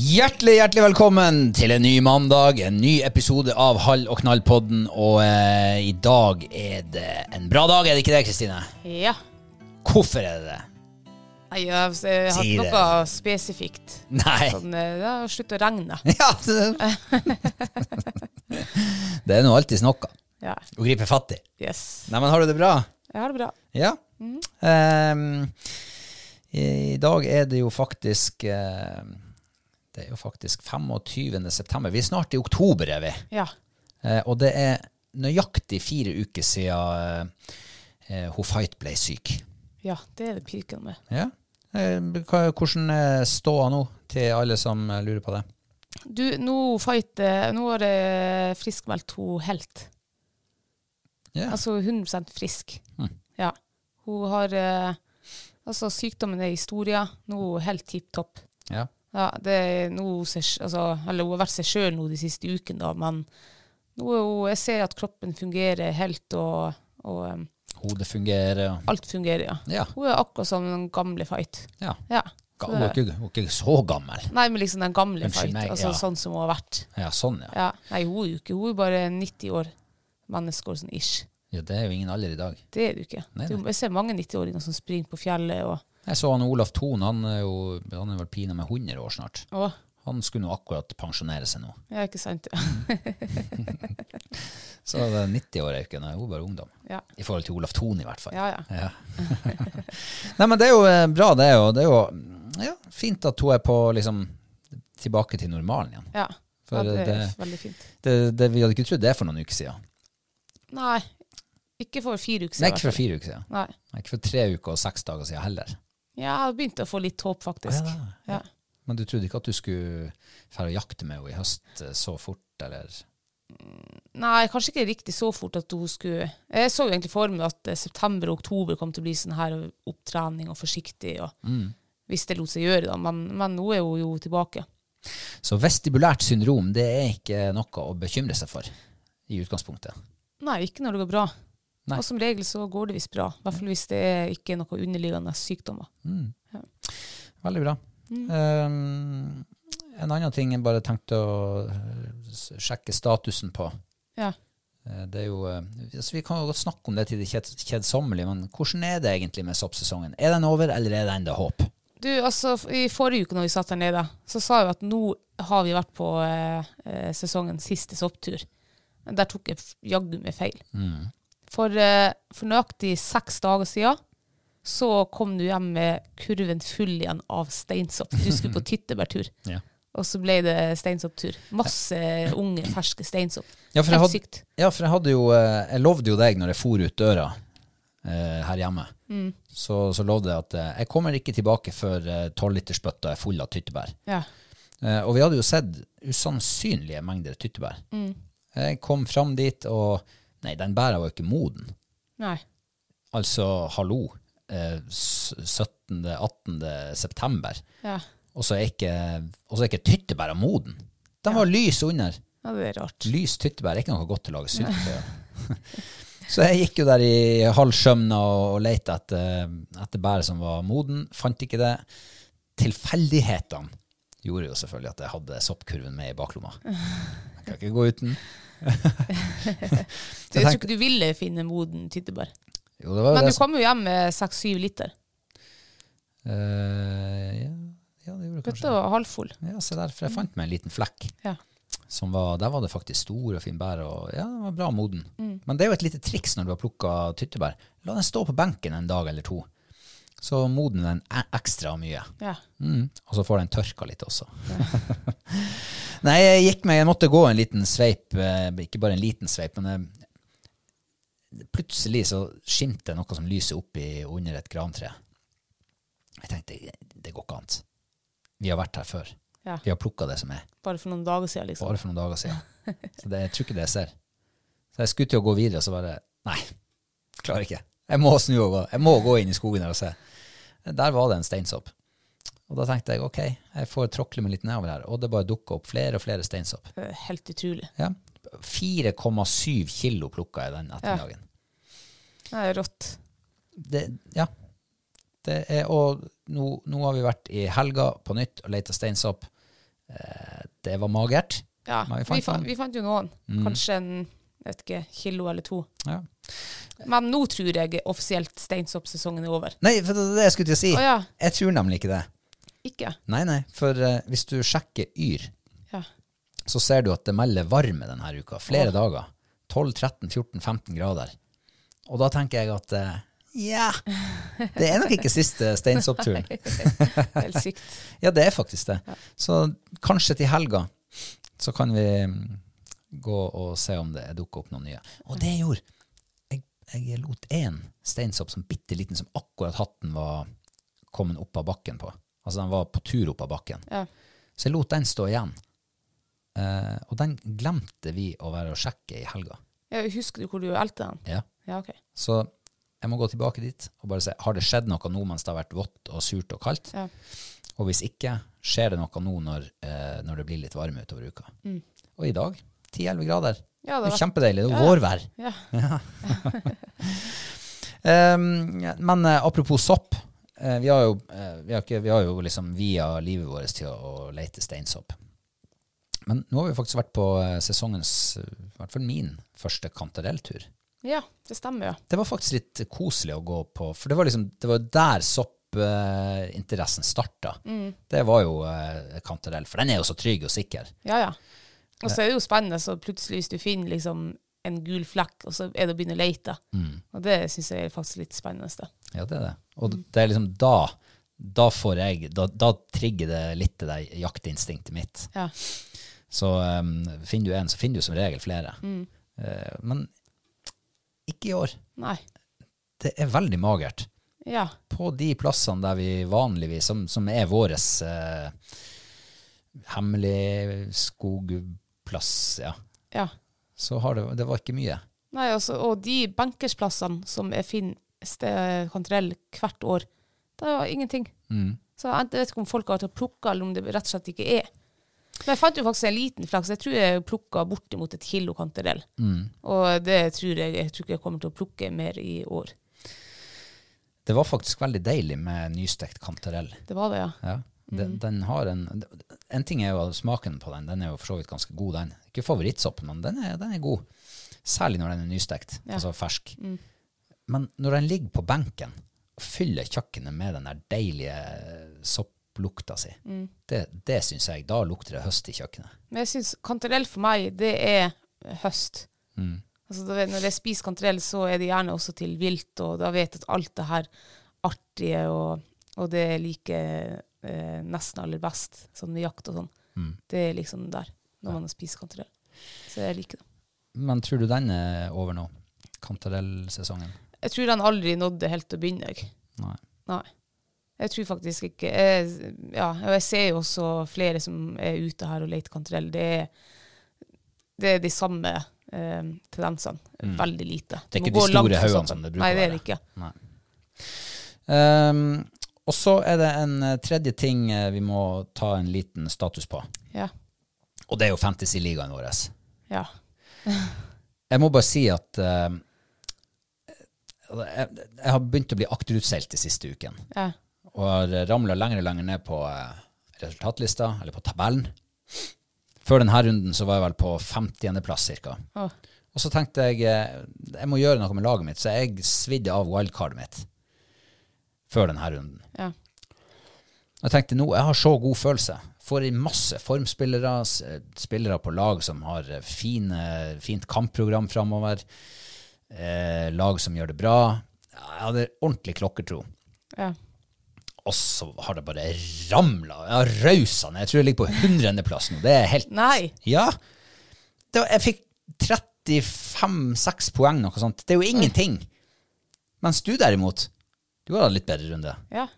Hjertelig hjertelig velkommen til en ny mandag, en ny episode av Hall og knall-podden. Og eh, i dag er det en bra dag, er det ikke det, Kristine? Ja. Hvorfor er det det? Nei, jeg har- jeg har Si ikke det. noe spesifikt. Nei. Sånn, eh, det har sluttet å regne. Ja, det, det er nå alltids noe Ja. å gripe fatt i. Yes. Neimen, har du det bra? Jeg har det bra. Ja. Ehm, i, I dag er det jo faktisk eh, Det er jo faktisk 25. september. Vi er snart i oktober, er vi. Ja. Eh, og det er nøyaktig fire uker siden eh, eh, hun Fight ble syk. Ja, det er det piken med. Ja. Eh, hva- hvordan eh, står hun nå, til alle som eh, lurer på det? Du, nå fight eh, Nå har det friskmeldt hun helt. Ja. Altså 100 frisk. Mm. Ja. Hun har eh, Altså, sykdommen er historie. Nå er hun helt tipp topp. Ja. Ja, det er noe seg, altså, eller hun har vært seg sjøl nå de siste ukene, da, men nå er hun, jeg ser at kroppen fungerer helt, og, og um, Hodet fungerer og alt fungerer, ja. Ja. Hun er akkurat som den gamle fight. ja. Ja. Ga- Så Hun er det- ikke, hun er ikke så gammel. Nei, men liksom den gamle Unnskyld fight, meg, altså ja. sånn som hun har vært. Ja, sånn, ja. Ja. Nei, hun er jo ikke, hun er bare 90 år menneske, og sånn ish. ja. Det er jo ingen alder i dag. Det er du ikke. Nei, Du, nei. jeg ser mange 90-åringer som springer på fjellet og Jeg så han Olaf Thon, han er jo han er vel pina med 100 år snart. Å, Han skulle nå akkurat pensjonere seg nå. ja, ikke sant? Så det er 90 år er jo ikke, nei, hun er bare ungdom. Ja, I forhold til Olaf Thon, i hvert fall. ja. ja. Ja. Nei, men det er jo eh, bra, det. Og det er jo ja, fint at hun er på liksom tilbake til normalen igjen. ja. For ja det er det- veldig fint. Det, det, vi hadde ikke trodd det for noen uker siden. Nei, ikke for fire uker siden. Nei, i hvert ikke for fire uker siden. fall. Nei. Nei, ikke for tre uker og seks dager siden heller. Ja, jeg begynte å få litt håp, faktisk. Ja, ja. Men du trodde ikke at du skulle fære og jakte med henne i høst eh, så fort, eller? Nei, kanskje ikke riktig så fort at hun skulle Jeg så jo egentlig for meg at eh, september og oktober kom til å bli sånn her opptrening og forsiktig, og Mm. hvis det lot seg gjøre, da. Men, men nå er hun jo tilbake. Så vestibulært syndrom, det er ikke noe å bekymre seg for i utgangspunktet. Nei, ikke når det går bra. Nei. Og som regel så går det visst bra. I hvert fall hvis det er ikke er noen underliggende sykdommer. Mm. Veldig bra. Um, en annen ting jeg bare tenkte å eh, s- sjekke statusen på. Ja. Eh, Det er jo, eh, altså vi kan jo godt snakke om det til det kjed- kjedsommelige, men hvordan er det egentlig med soppsesongen? Er den over, eller er det enda håp? Du, altså, f- I forrige uke når vi satt der nede, så sa jeg at nå har vi vært på Mm. eh, eh, sesongens siste sopptur. Der tok jeg f- jaggu meg feil. For, eh, for nøyaktig seks dager siden så kom du hjem med kurven full igjen av steinsopp. Du skulle på tyttebærtur, Ja. og så ble det steinsopptur. Masse unge, ferske steinsopp. Ja, for jeg Helt hadde, sykt. ja, for jeg hadde jo eh, Jeg lovde jo deg når jeg for ut døra eh, her hjemme, så, så lovde jeg at eh, jeg kommer ikke tilbake før eh, tolvlitersbøtta er full av tyttebær. Ja. Eh, og vi hadde jo sett usannsynlige mengder tyttebær. Jeg kom fram dit, og nei, den bæra var jo ikke moden. Nei. Altså, hallo, eh, s- 17. 18. september, Ja. og så er ikke, og så er ikke tyttebæra moden. Den var lys under. ja, det er rart. Lys tyttebær er ikke noe godt til å lage syltetøy av. Så jeg gikk jo der i halv skjømna og, og lette etter, etter bær som var moden. Fant ikke det. Tilfeldighetene gjorde jo selvfølgelig at jeg hadde soppkurven med i baklomma. Jeg kan ikke gå uten. Du, jeg tror ikke du ville finne moden tyttebær. Jo, det var jo Men det du kom jo hjem med seks-syv liter. som Eh, ja, ja, det gjorde jeg kanskje. Bøtta var halvfull. Ja, se der, for jeg fant meg en liten flekk. Ja. Som var, der var det faktisk stor og fin bær, og ja, den var bra moden. Men det er jo et lite triks når du har plukka tyttebær. La den stå på benken en dag eller to. Så modner den e- ekstra mye. Ja. Mm. Og så får den tørka litt også. Nei, jeg gikk meg, jeg måtte gå en liten sveip, eh, ikke bare en liten sveip, men eh, plutselig så skimte noe som lyser opp i, under et grantre. Jeg tenkte, det går ikke an. Vi har vært her før. ja. Vi har plukka det som er, Bare for noen dager siden, liksom. bare for noen dager siden. Så det, jeg tror ikke det jeg ser. Så jeg skulle til å gå videre, og så bare Nei, klarer ikke. Jeg må snu og gå. Jeg må gå inn i skogen her og se. Der var det en steinsopp. Og da tenkte jeg ok, jeg får tråkle meg litt nedover her. Og det bare dukka opp flere og flere steinsopp. Eh, Helt utrolig. Ja. 4,7 kilo plukka jeg den ettermiddagen. Nei, det er rått. Det, ja. Det er, og nå, nå har vi vært i helga på nytt og leita steinsopp. Eh, Det var magert. Ja, Men vi vi fant fant, vi, noen. fant, jo noen. Kanskje en jeg vet ikke, kilo eller to. Mm. Ja. Men nå tror jeg offisielt steinsoppsesongen er over. Nei, for det er det jeg skulle til å si. Å ja, Jeg tror nemlig ikke det. ikke? Nei, nei, for eh, hvis du sjekker Yr, Ja. så ser du at det melder varme denne uka. Flere dager. 12, 13, 14, 15 grader. Og da tenker jeg at eh, ja, det er nok ikke siste steinsoppturen. Helt sykt. Ja, det er faktisk det. Så kanskje til helga så kan vi mm, gå og se om det dukker opp noen nye. Og det jeg gjorde jeg, jeg lot én steinsopp som bitte liten, som akkurat hatten var kommet opp av bakken på. Altså den var på tur opp av bakken. Ja. Så jeg lot den stå igjen. Eh, og den glemte vi å være og sjekke i helga. Ja, husker du hvor du elte den? Ja. Ja, ok. Så jeg må gå tilbake dit og bare se har det skjedd noe nå mens det har vært vått og surt og kaldt. Ja. Og hvis ikke, skjer det noe nå når, eh, når det blir litt varme utover uka. Og i dag 10-11 grader. Mm. Det Ja, det er var, kjempedeilig. Det er Ja, ja. vårvær. ja. Um, ja, men eh, apropos sopp. eh, vi, har jo, eh, vi, har ikke, vi har jo liksom via livet vårt til å, å lete steinsopp. Men nå har vi faktisk vært på eh, sesongens, eh, i hvert fall min, første kantarelltur. ja, det stemmer, ja. Det var faktisk litt koselig å gå på, for det var liksom, det var der soppinteressen starta. Det var jo eh, kantarell, for den er jo så trygg og sikker. Ja, ja. Og så er det jo spennende, så plutselig hvis du finner liksom en gul flekk, og så er det å begynne å lete. Mm. Og det syns jeg er faktisk litt spennende. da. Ja, det er det. Og det er liksom da, da får jeg, da, da trigger det litt det der jaktinstinktet mitt. Ja. Så eh, finner du en, så finner du som regel flere. Eh, men ikke i år. Nei. Det er veldig magert. Ja. på de plassene der vi vanligvis, som, som er våres eh, hemmelig skogplass, ja, ja. så har det, det var ikke mye. Nei, altså, og de bankersplassene som jeg finner ste- kantarell eh, hvert år, det var ingenting. Så jeg vet ikke om folk har vært og plukka, eller om det rett og slett ikke er. Men jeg fant jo faktisk en liten flaks. Jeg tror jeg plukka bortimot et kilo kantarell. Og det tror jeg, jeg tror ikke jeg kommer til å plukke mer i år. Det var faktisk veldig deilig med nystekt kantarell. Det var det, ja. Ja. Den, den har en, en ting er jo smaken på den, den er jo for så vidt ganske god den. Ikke favorittsoppen, men den er, den er god. Særlig når den er nystekt, altså fersk. Men når den ligger på benken, og fyller kjøkkenet med den der deilige sopplukta si, det, det syns jeg, da lukter det høst i kjøkkenet. Men jeg syns kantarell for meg, det er høst. Altså, da vet- når jeg spiser kantarell, så er det gjerne også til vilt, og da vet jeg at alt det her artige og, og det jeg liker eh, nesten aller best, sånn med jakt og sånn, Mm. det er liksom der, når man spiser kantarell. Så jeg liker det. Men tror du den er over nå? Kantarellsesongen? Jeg tror han aldri nådde helt til å begynne, jeg. Nei. Nei. Jeg tror faktisk ikke jeg, Ja, og jeg ser jo også flere som er ute her og leter kantarell. Det er, det er de samme eh, tendensene. Veldig lite. Mm. Det er Du ikke må de gå langt store for å haugene stoppe. som det bruker Nei, det å er det være. ikke. Nei. Ehm, og så er det en eh, tredje ting eh, vi må ta en liten status på. Ja. Og det er jo Fantasy-ligaen vår. ja. Jeg må bare si at eh, jeg, jeg har begynt å bli akterutseilt de siste ukene. ja. Og har ramla lenger og lenger ned på eh, resultatlista, eller på tabellen. Før denne runden så var jeg vel på 50.-plass ca. Åh. Og så tenkte jeg eh, jeg må gjøre noe med laget mitt, så jeg svidde av wildcardet mitt før denne runden. Ja. Jeg tenkte nå, jeg har så god følelse. Får inn masse formspillere, s- eh, spillere på lag som har eh, fine, fint kampprogram framover, eh, lag som gjør det bra. Jeg hadde ordentlig klokkertro. ja. Og så har det bare ramla. Jeg har rausa ned. Jeg tror jeg ligger på 100. plass nå. Det er helt Nei. Ja. Det var, jeg fikk 35-6 poeng, noe sånt. Det er jo ingenting. Mens du derimot, du har hatt litt bedre runde. Ja.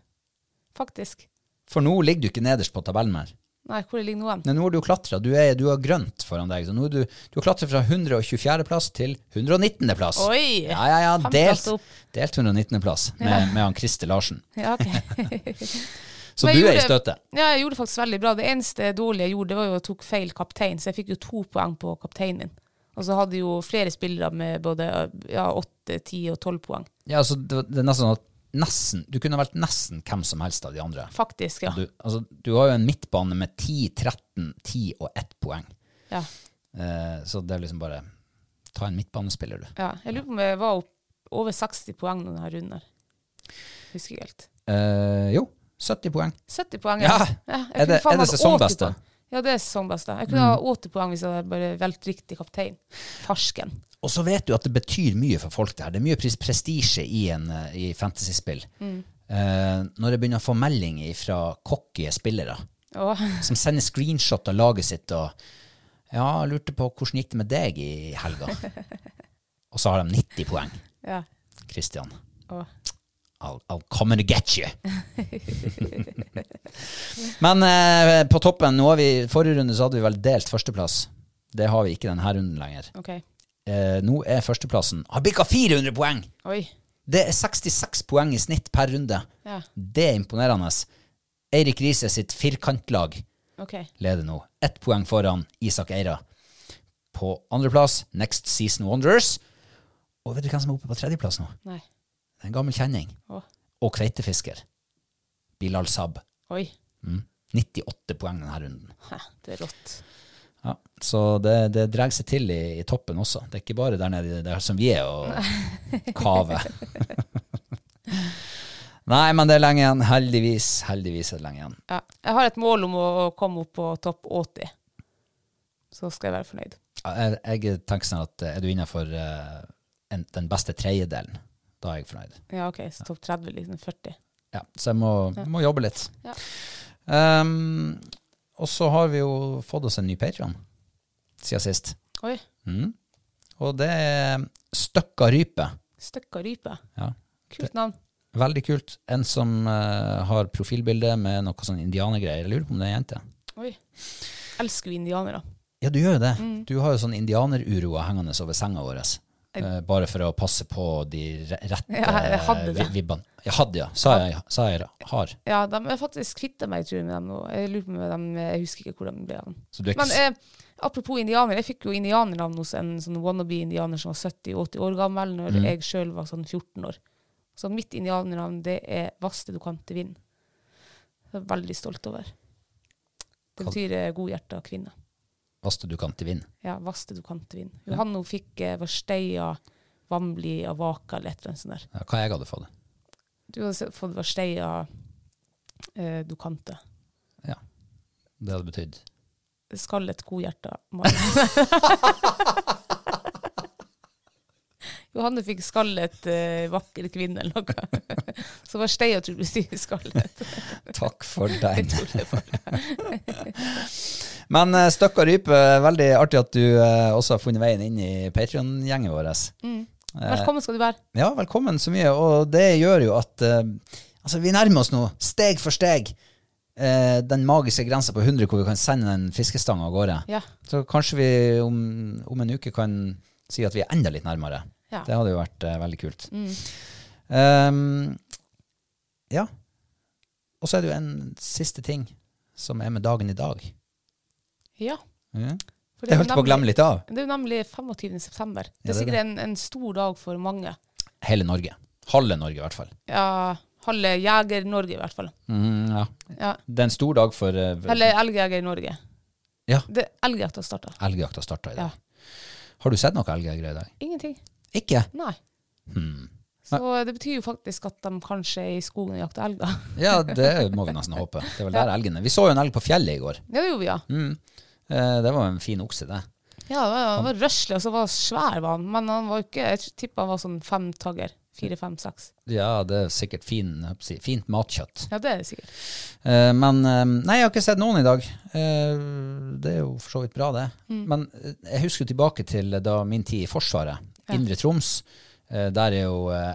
Faktisk. For nå ligger du ikke nederst på tabellen mer. Nei, hvor jeg ligger nå hen? Nei, nå har du klatra. Du, er- du har grønt foran deg. Så nå er du, du har klatra fra 124. plass til 119. plass. Oi! Ja, ja, ja. Fem plass Delt, opp. delt 119. plass med, med han Christer Larsen. Ja, ok. Så Men du jeg er i gjorde- støtet. Ja, jeg gjorde det faktisk veldig bra. Det eneste dårlige jeg gjorde, det var jo at jeg tok feil kaptein, så jeg fikk jo to poeng på kapteinen min. Og så hadde jeg jo flere spillere med både ja, åtte, ti og tolv poeng. Ja, altså, det, var- det er nesten sånn at nesten, du kunne ha valgt nesten hvem som helst av de andre. Faktisk, ja. Du, altså, du har jo en midtbane med 10, 13, 10 og 1 poeng. ja. Eh, så det er liksom bare Ta en midtbanespiller, du. ja. Jeg lurer på om jeg var opp, over 60 poeng denne runden. her. Husker ikke helt. Eh, jo, 70 poeng. 70 poeng. Ja. jeg Er det- kunne faen er det hatt sesongbeste? Mm. 80 poeng. Ja, det er sesongbeste. Jeg kunne ha 80 poeng hvis jeg hadde bare valgt riktig kaptein. Farsken. Og så vet du at det betyr mye for folk det her. Det er mye pres- prestisje i, en, eh, i fantasyspill. Eh, når jeg begynner å få meldinger fra cocky spillere Åh. som sender screenshot av laget sitt og ja, lurte på hvordan gikk det med deg i helga. og så har de 90 poeng. Ja. Christian, Åh. I'll, I'll come and get you. Men eh, på toppen, nå har vi, forrige runde så hadde vi vel delt førsteplass. Det har vi ikke denne runden lenger. OK. Eh, nå er førsteplassen Har bikka 400 poeng! Oi. Det er 66 poeng i snitt per runde. Ja. Det er imponerende. Eirik Riise sitt firkantlag OK. leder nå. Ett poeng foran Isak Eira. På andreplass Next Season Wonders. Og vet du hvem som er oppe på tredjeplass nå? Nei. Det er en gammel kjenning. Åh. Og kveitefisker. Bilal Saab. Oi. Mm. 98 poeng denne runden. Hæ, det er rått. Ja, så det, det drar seg til i, i toppen også. Det er ikke bare der nede der som vi er og kaver. Nei, men det er lenge igjen. Heldigvis. Heldigvis er det lenge igjen. Ja. Jeg har et mål om å komme opp på topp 80. Så skal jeg være fornøyd. Ja, Jeg, jeg tenker sånn at eh, er du innenfor eh, en, den beste tredjedelen, da er jeg fornøyd. Ja, OK. Så topp 30, liksom 40. Ja, så jeg må, må jobbe litt. Ja. Ehm, og så har vi jo fått oss en ny Patreon siden sist. Oi. Mm. Og det er Støkka rype. Støkka rype. Ja. Kult navn. Veldig kult. En som eh, har profilbilde med noe sånn indianergreier. Jeg lurer på om det er ei jente. Oi. Elsker jo indianere. Ja, du gjør jo det. Mm. Du har jo sånn indianeruroer hengende over senga vår. eh, bare for å passe på de re- rette eh, Ja, jeg hadde vi- det. vibbene. Jeg hadde, ja. Sa jeg, sa jeg har. Ja, de er faktisk kvitta meg, tror jeg, med dem nå. Jeg lurer på om dem, jeg husker ikke hvor de ble av. Så du er ikke Men eh, apropos indianer, jeg fikk jo indianernavn hos en sånn wannabe-indianer som var 70-80 år gammel, når jeg sjøl var sånn 14 år. Så mitt indianernavn, det er Vaste du kan til vind. Det er jeg veldig stolt over. Det Kall- betyr eh, godhjerta kvinne. vaste du kan til vind. Ja, Vaste du kan til vind. Johan hun fikk eh, Varsteia Vamli Avaka eller et eller annet sånt der. Ja, hva jeg hadde fått. Du har se- fått Varsteia eh, du kan til. Ja. Det hadde betydd. Skallet godhjerta mann. Johanne fikk skallet eh, vakker kvinne eller noe. Så var Steia tror jeg ble skallet. Takk for deg. Men eh, Støkka rype, veldig artig at du eh, også har funnet veien inn i Patrion-gjengen vår. Velkommen skal du være. Ja, velkommen så mye. Og det gjør jo at eh, altså, vi nærmer oss nå, steg for steg, eh, den magiske grensa på 100 hvor vi kan sende en fiskestang av gårde. Ja. Så kanskje vi om, om en uke kan si at vi er enda litt nærmere. Ja. Mm. Det hadde jo vært eh, veldig kult. Ehm, ja. Og så er det jo en siste ting som er med dagen i dag. ja. Mhm. for Det er jo holdt jeg på å glemme litt av. Det er jo nemlig 25. september. Ja, det Det er er sikkert det. En, en stor dag for mange. Hele Norge. Halve Norge, i hvert fall. Ja, halve Jeger-Norge i hvert fall. Mhm, ja. Ja. Det er en stor dag for eh, Eller Elgjeger-Norge. Ja. Det- Elgjakta starta. Elgjakta starta i dag. Ja. Har du sett noe elggreier i dag? Ingenting. Ikke. Nei. Hmm. Så det betyr jo faktisk at de kanskje er i skogen og jakter elger. Ja, det må vi nesten håpe. Det er vel der elgene Vi så jo en elg på fjellet i går. Ja, det gjorde vi, ja. Mm. Eh, Det var jo en fin okse, det. Ja, det var, han var røslig, og så var han svær, var han. Men han var jo ikke, jeg tipper han var sånn fem tagger. Fire, fem, seks. Ja, det er sikkert fin, jeg håper å si, fint matkjøtt. Ja, det er det sikkert. Eh, Men eh, Nei, jeg har ikke sett noen i dag. Eh, Det er jo for så vidt bra, det. Men eh, jeg husker jo tilbake til eh, da min tid i Forsvaret. Indre Troms. Eh, Der er jo eh,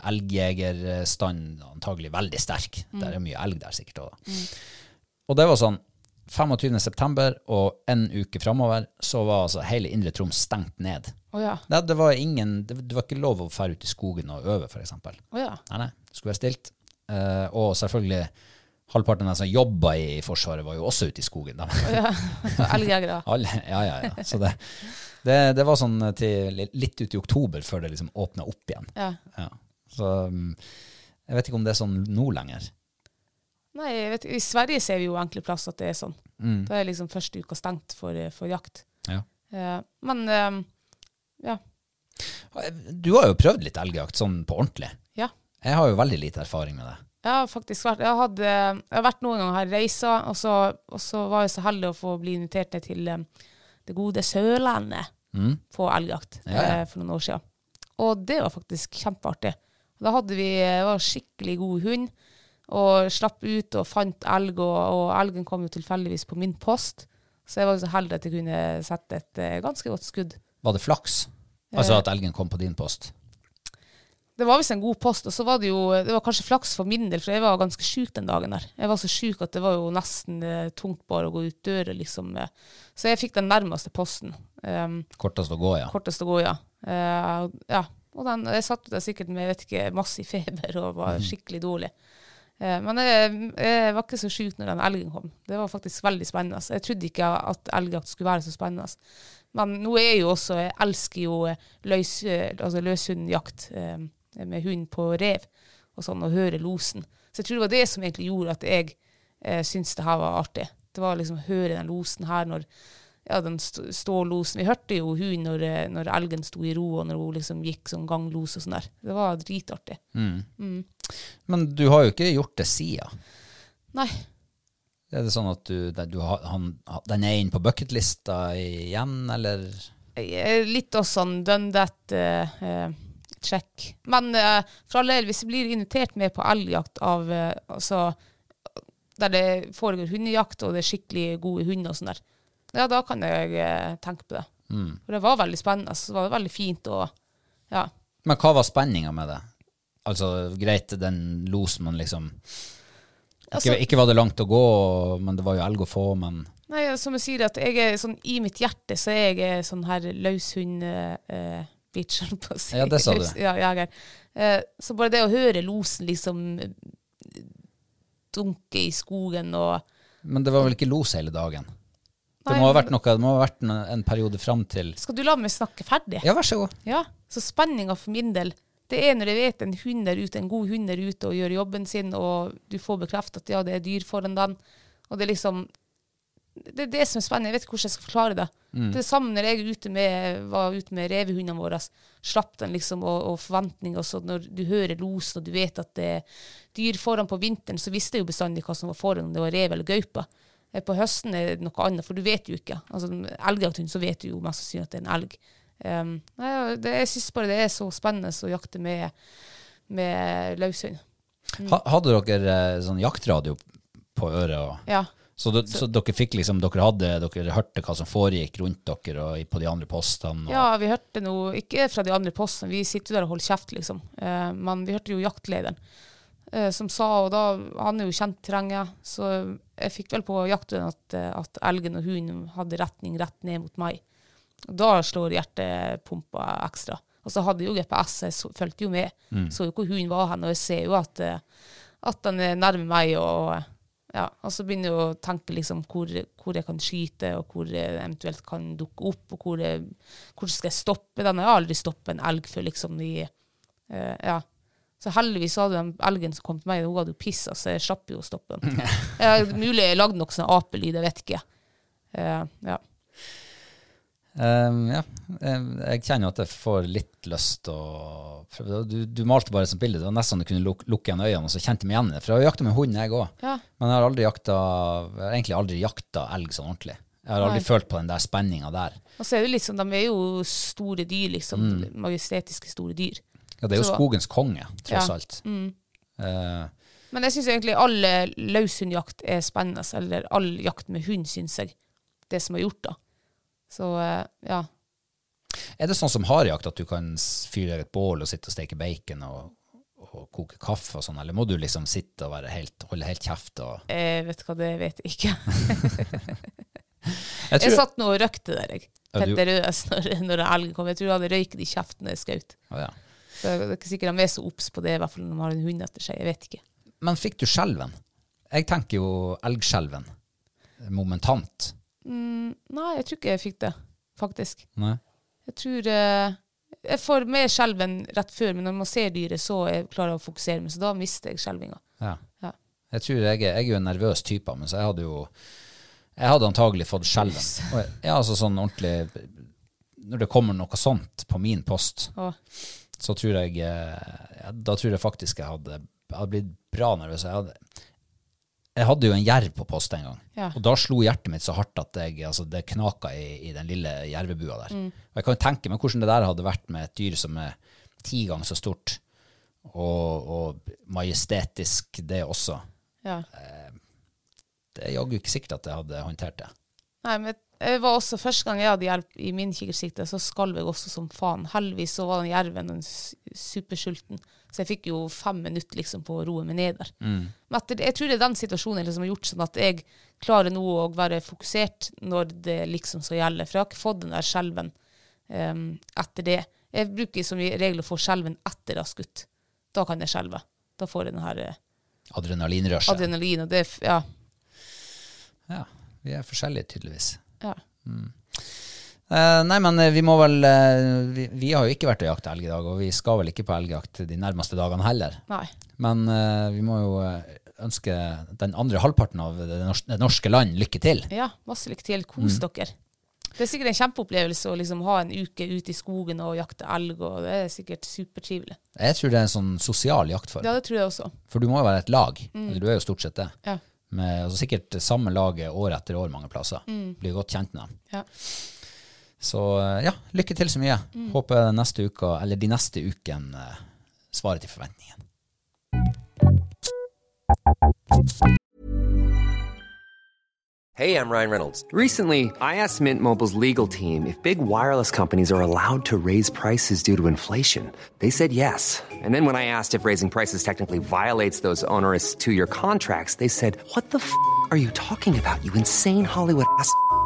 elgjegerstanden antagelig veldig sterk. Der er mye elg der sikkert òg. Og det var sånn 25. september og en uke framover så var altså hele Indre Troms stengt ned. Å ja. Nei, det var ingen, det, det var ikke lov å fære ut i skogen og øve, for eksempel. Å ja. Nei, nei, det skulle være stilt. Eh, og selvfølgelig, halvparten av de som jobba i Forsvaret, var jo også ute i skogen. Da. Elgjegere. Alle, ja, ja, ja. Så det, det, det var sånn til litt ut i oktober før det liksom åpna opp igjen. Ja. Ja. Så mm, jeg vet ikke om det er sånn nå lenger. Nei, jeg vet, i Sverige ser vi jo enkle plass at det er sånn. Da er liksom første uka stengt for, for jakt. Ja. Eh, men eh, ja. Du har jo prøvd litt elgjakt sånn på ordentlig. ja. Jeg har jo veldig lite erfaring med det. Jeg har faktisk vært Jeg, hadde, jeg har vært noen ganger her reisa, og så, og så var jeg så heldig å få bli invitert ned til eh, det gode Sørlandet på elgjakt Mm. Ja, ja. eh, for noen år siden. Og det var faktisk kjempeartig. Da hadde vi det var en skikkelig god hund, og slapp ut og fant elg, og, og elgen kom jo tilfeldigvis på min post. Så jeg var jo så heldig at jeg kunne sette et eh, ganske godt skudd. Var det flaks? Altså at elgen kom på din post? Det var visst en god post, og så var det jo Det var kanskje flaks for min del, for jeg var ganske sjuk den dagen der. Jeg var så sjuk at det var jo nesten eh, tungt bare å gå ut døra, liksom. eh. Så jeg fikk den nærmeste posten. Um, Kortest å gå, ja. kortest å gå, ja. Eh, og- ja. Og den, jeg satt der sikkert med jeg vet ikke, massiv feber og var skikkelig dårlig. Eh, men jeg, jeg var ikke så sjuk når den elgen kom. Det var faktisk veldig spennende. Jeg trodde ikke at elgjakt skulle være så spennende. Men nå er jeg jo også Jeg elsker jo eh, løs, eh, altså løshundjakt eh, med hund på rev og sånn, og høre losen. Så jeg tror det var det som egentlig gjorde at jeg eh, syntes det her var artig. Det var liksom å høre den losen her når ja, den st står losen. Vi hørte jo hun når, eh, når elgen sto i ro, og når hun liksom gikk som ganglos og sånn der. Det var dritartig. Men du har jo ikke gjort det sida. Nei. Er det sånn at du, det- du har, han, den er inn på bucketlista igjen, eller? Jeg er Litt også sånn done that eh, eh, check. Men eh, for all del, hvis jeg blir invitert med på elgjakt av eh, altså, der det foregår hundejakt, og det er skikkelig gode hunder og sånn der, ja, da kan jeg eh, tenke på det. For det var veldig spennende, så var det veldig fint og ja. Men hva var spenninga med det? Altså, greit, den los man liksom Altså- ikke, ikke var det langt å gå, men det var jo elg å få, men Nei, som jeg sier, at jeg er sånn i mitt hjerte, så er jeg eh, sånn her løshund-bitch, eh, holdt på å si. Ja, det sa du. Løs- Ja, jeger. Eh, Så bare det å høre losen liksom eh, dunke i skogen og Men det var vel ikke los hele dagen? Det Nei, må ha men- vært noe, det må ha vært en, en periode fram til Skal du la meg snakke ferdig? Ja, vær så god. Ja, så spenninga for min del, det er når jeg vet en hund der ute, en god hund der ute og gjør jobben sin, og du får bekreftet at ja, det er dyr foran den, og det er liksom Det er det som er spennende. Jeg vet ikke hvordan jeg skal forklare det. Det er det samme når jeg er ute med, var ute med revehundene våre. Slapp den liksom, og, og forventninger. Og så når du hører losen, og du vet at det er dyr foran på vinteren, så visste jeg jo bestandig hva som var foran, om det var rev eller gaupe. Eh, På høsten er det noe annet, for du vet jo ikke. Altså, Elgjakthund, så vet du jo mest sannsynlig at det er en elg. Um, nei, ja, det, jeg syns bare det er så spennende å jakte med, med løshund. Mm. Ha, hadde dere eh, sånn jaktradio på øret? Og, Ja. så, d- så dere fikk liksom, dere hadde, dere hørte hva som foregikk rundt dere og i- på de andre postene? Og, ja, vi hørte noe Ikke fra de andre postene, vi sitter jo der og holder kjeft, liksom. Eh, men vi hørte jo jaktlederen eh, som sa, og da Han er jo kjent terrenget, så jeg fikk vel på jaktlederen at, eh, at elgen og hunden hadde retning rett ned mot meg. Og Da slår hjertepumpa ekstra. Og så hadde jeg jo GPS, jeg så- fulgte jo med. Så jo hvor hunden var hen, og jeg ser jo at, eh, at den er nærme meg. og ja, og så begynner jeg å tenke liksom hvor, hvor jeg kan skyte, og hvor jeg eventuelt kan dukke opp, og hvor, jeg, hvor skal jeg stoppe den. Jeg har aldri stoppet en elg før, liksom. I, eh, ja. Så heldigvis hadde den elgen som kom til meg, hun hadde jo pissa, så jeg slapp jo å stoppe den. Eh, mulig jeg lagde noen sånne apelyder, jeg vet ikke. Eh, ja. Ehm, ja. Ehm, jeg kjenner at jeg får litt lyst til å prøve. det. Du, du malte bare som bilde. Det var nesten du kunne luk lukke igjen øynene og så kjente jeg meg igjen i det. For jeg har jakta med hund, jeg òg. Ja. Men jeg har aldri jakta jeg har egentlig aldri jakta elg sånn ordentlig. Jeg har aldri følt på den der spenninga der. Og så er det litt sånn, de er jo store dyr, liksom. Mm. Majestetiske store dyr. Ja, det er jo Så- skogens konge, tross Ja. Mm. alt. Eh, Men jeg syns egentlig all eh, løshundjakt er spennende, eller all jakt med hund, syns jeg. Det som er gjort, da. Så eh, ja. er det sånn som harejakt, at du kan s- fyre et bål og sitte og steke bacon og, og koke kaffe og sånn, eller må du liksom sitte og være helt, holde helt kjeft og Jeg vet hva det er, vet jeg ikke. Jeg Jeg tror- satt nå og røykte der, jeg. Ja, du- Petter Røes når, når elgen kom. Jeg tror jeg hadde røyken i kjeften da jeg skjøt. Å, ja. Så Det er ikke sikkert de er så obs på det, i hvert fall når de har en hund etter seg. Jeg vet ikke. Men fikk du skjelven? Jeg tenker jo elgskjelven. Momentant. Nei, jeg tror ikke jeg fikk det, faktisk. Nei. Jeg tror eh, Jeg får med skjelven rett før, men når man ser dyret, så er jeg klarer jeg å fokusere meg, så da mister jeg skjelvinga. Ja. Ja. Jeg tror jeg, er- jeg er jo en nervøs type, men så jeg hadde jo Jeg hadde antagelig fått skjelven. Og jeg- Ja, altså sånn ordentlig Når det kommer noe sånt på min post, Og, så tror jeg eh, ja, Da tror jeg faktisk jeg hadde, jeg hadde blitt bra nervøs. Jeg hadde, jeg hadde jo en jerv på post en gang, Ja. og da slo hjertet mitt så hardt at jeg, altså, det knaka i, i den lille jervebua der. Mm. Og jeg kan jo tenke meg hvordan det der hadde vært med et dyr som er ti ganger så stort, og, og majestetisk det også. ja. Det er jaggu ikke sikkert at jeg hadde håndtert det. Nei, men jeg var også, Første gang jeg hadde jerv i min kikkertsikte, så skalv jeg også som faen. Heldigvis så var den jerven den s- supersulten, så jeg fikk jo fem minutter liksom på å roe meg ned der. Men etter, det- jeg tror det er den situasjonen som har gjort sånn at jeg klarer nå å være fokusert når det liksom skal gjelde, for jeg har ikke fått den der skjelven em, etter det. Jeg bruker som regel å få skjelven etter jeg har skutt. Da kan jeg skjelve. Da får jeg den her eh, Adrenalinrushet. adrenalin, og det f- Ja. ja, vi er forskjellige, tydeligvis. ja. Eh, nei, men eh, vi må vel eh, vi, vi har jo ikke vært og jakta elg i dag, og vi skal vel ikke på elgjakt de nærmeste dagene heller. Nei. Men eh, vi må jo eh, ønske den andre halvparten av det norske, det norske land lykke til. Ja, masse lykke til. Kos Mm. dere. Det er sikkert en kjempeopplevelse å liksom ha en uke ute i skogen og jakte elg, og det er sikkert supertrivelig. Jeg tror det er en sånn sosial jaktform. Ja, det tror jeg også. For du må jo være et lag. Eller du er jo stort sett det. Ja. Med, altså, sikkert det samme laget år etter år mange plasser. Blir godt kjent med dem. Ja. Så eh, ja, lykke til så mye. Håper neste uke, eller de neste ukene eh, svarer til forventningene. Hey, I'm Ryan Reynolds. Recently, I asked Mint Mobile's legal team if big wireless companies are allowed to raise prices due to inflation. They said yes. And then when I asked if raising prices technically violates those onerous two year contracts, they said, What the f are you talking about, you insane Hollywood ass? f-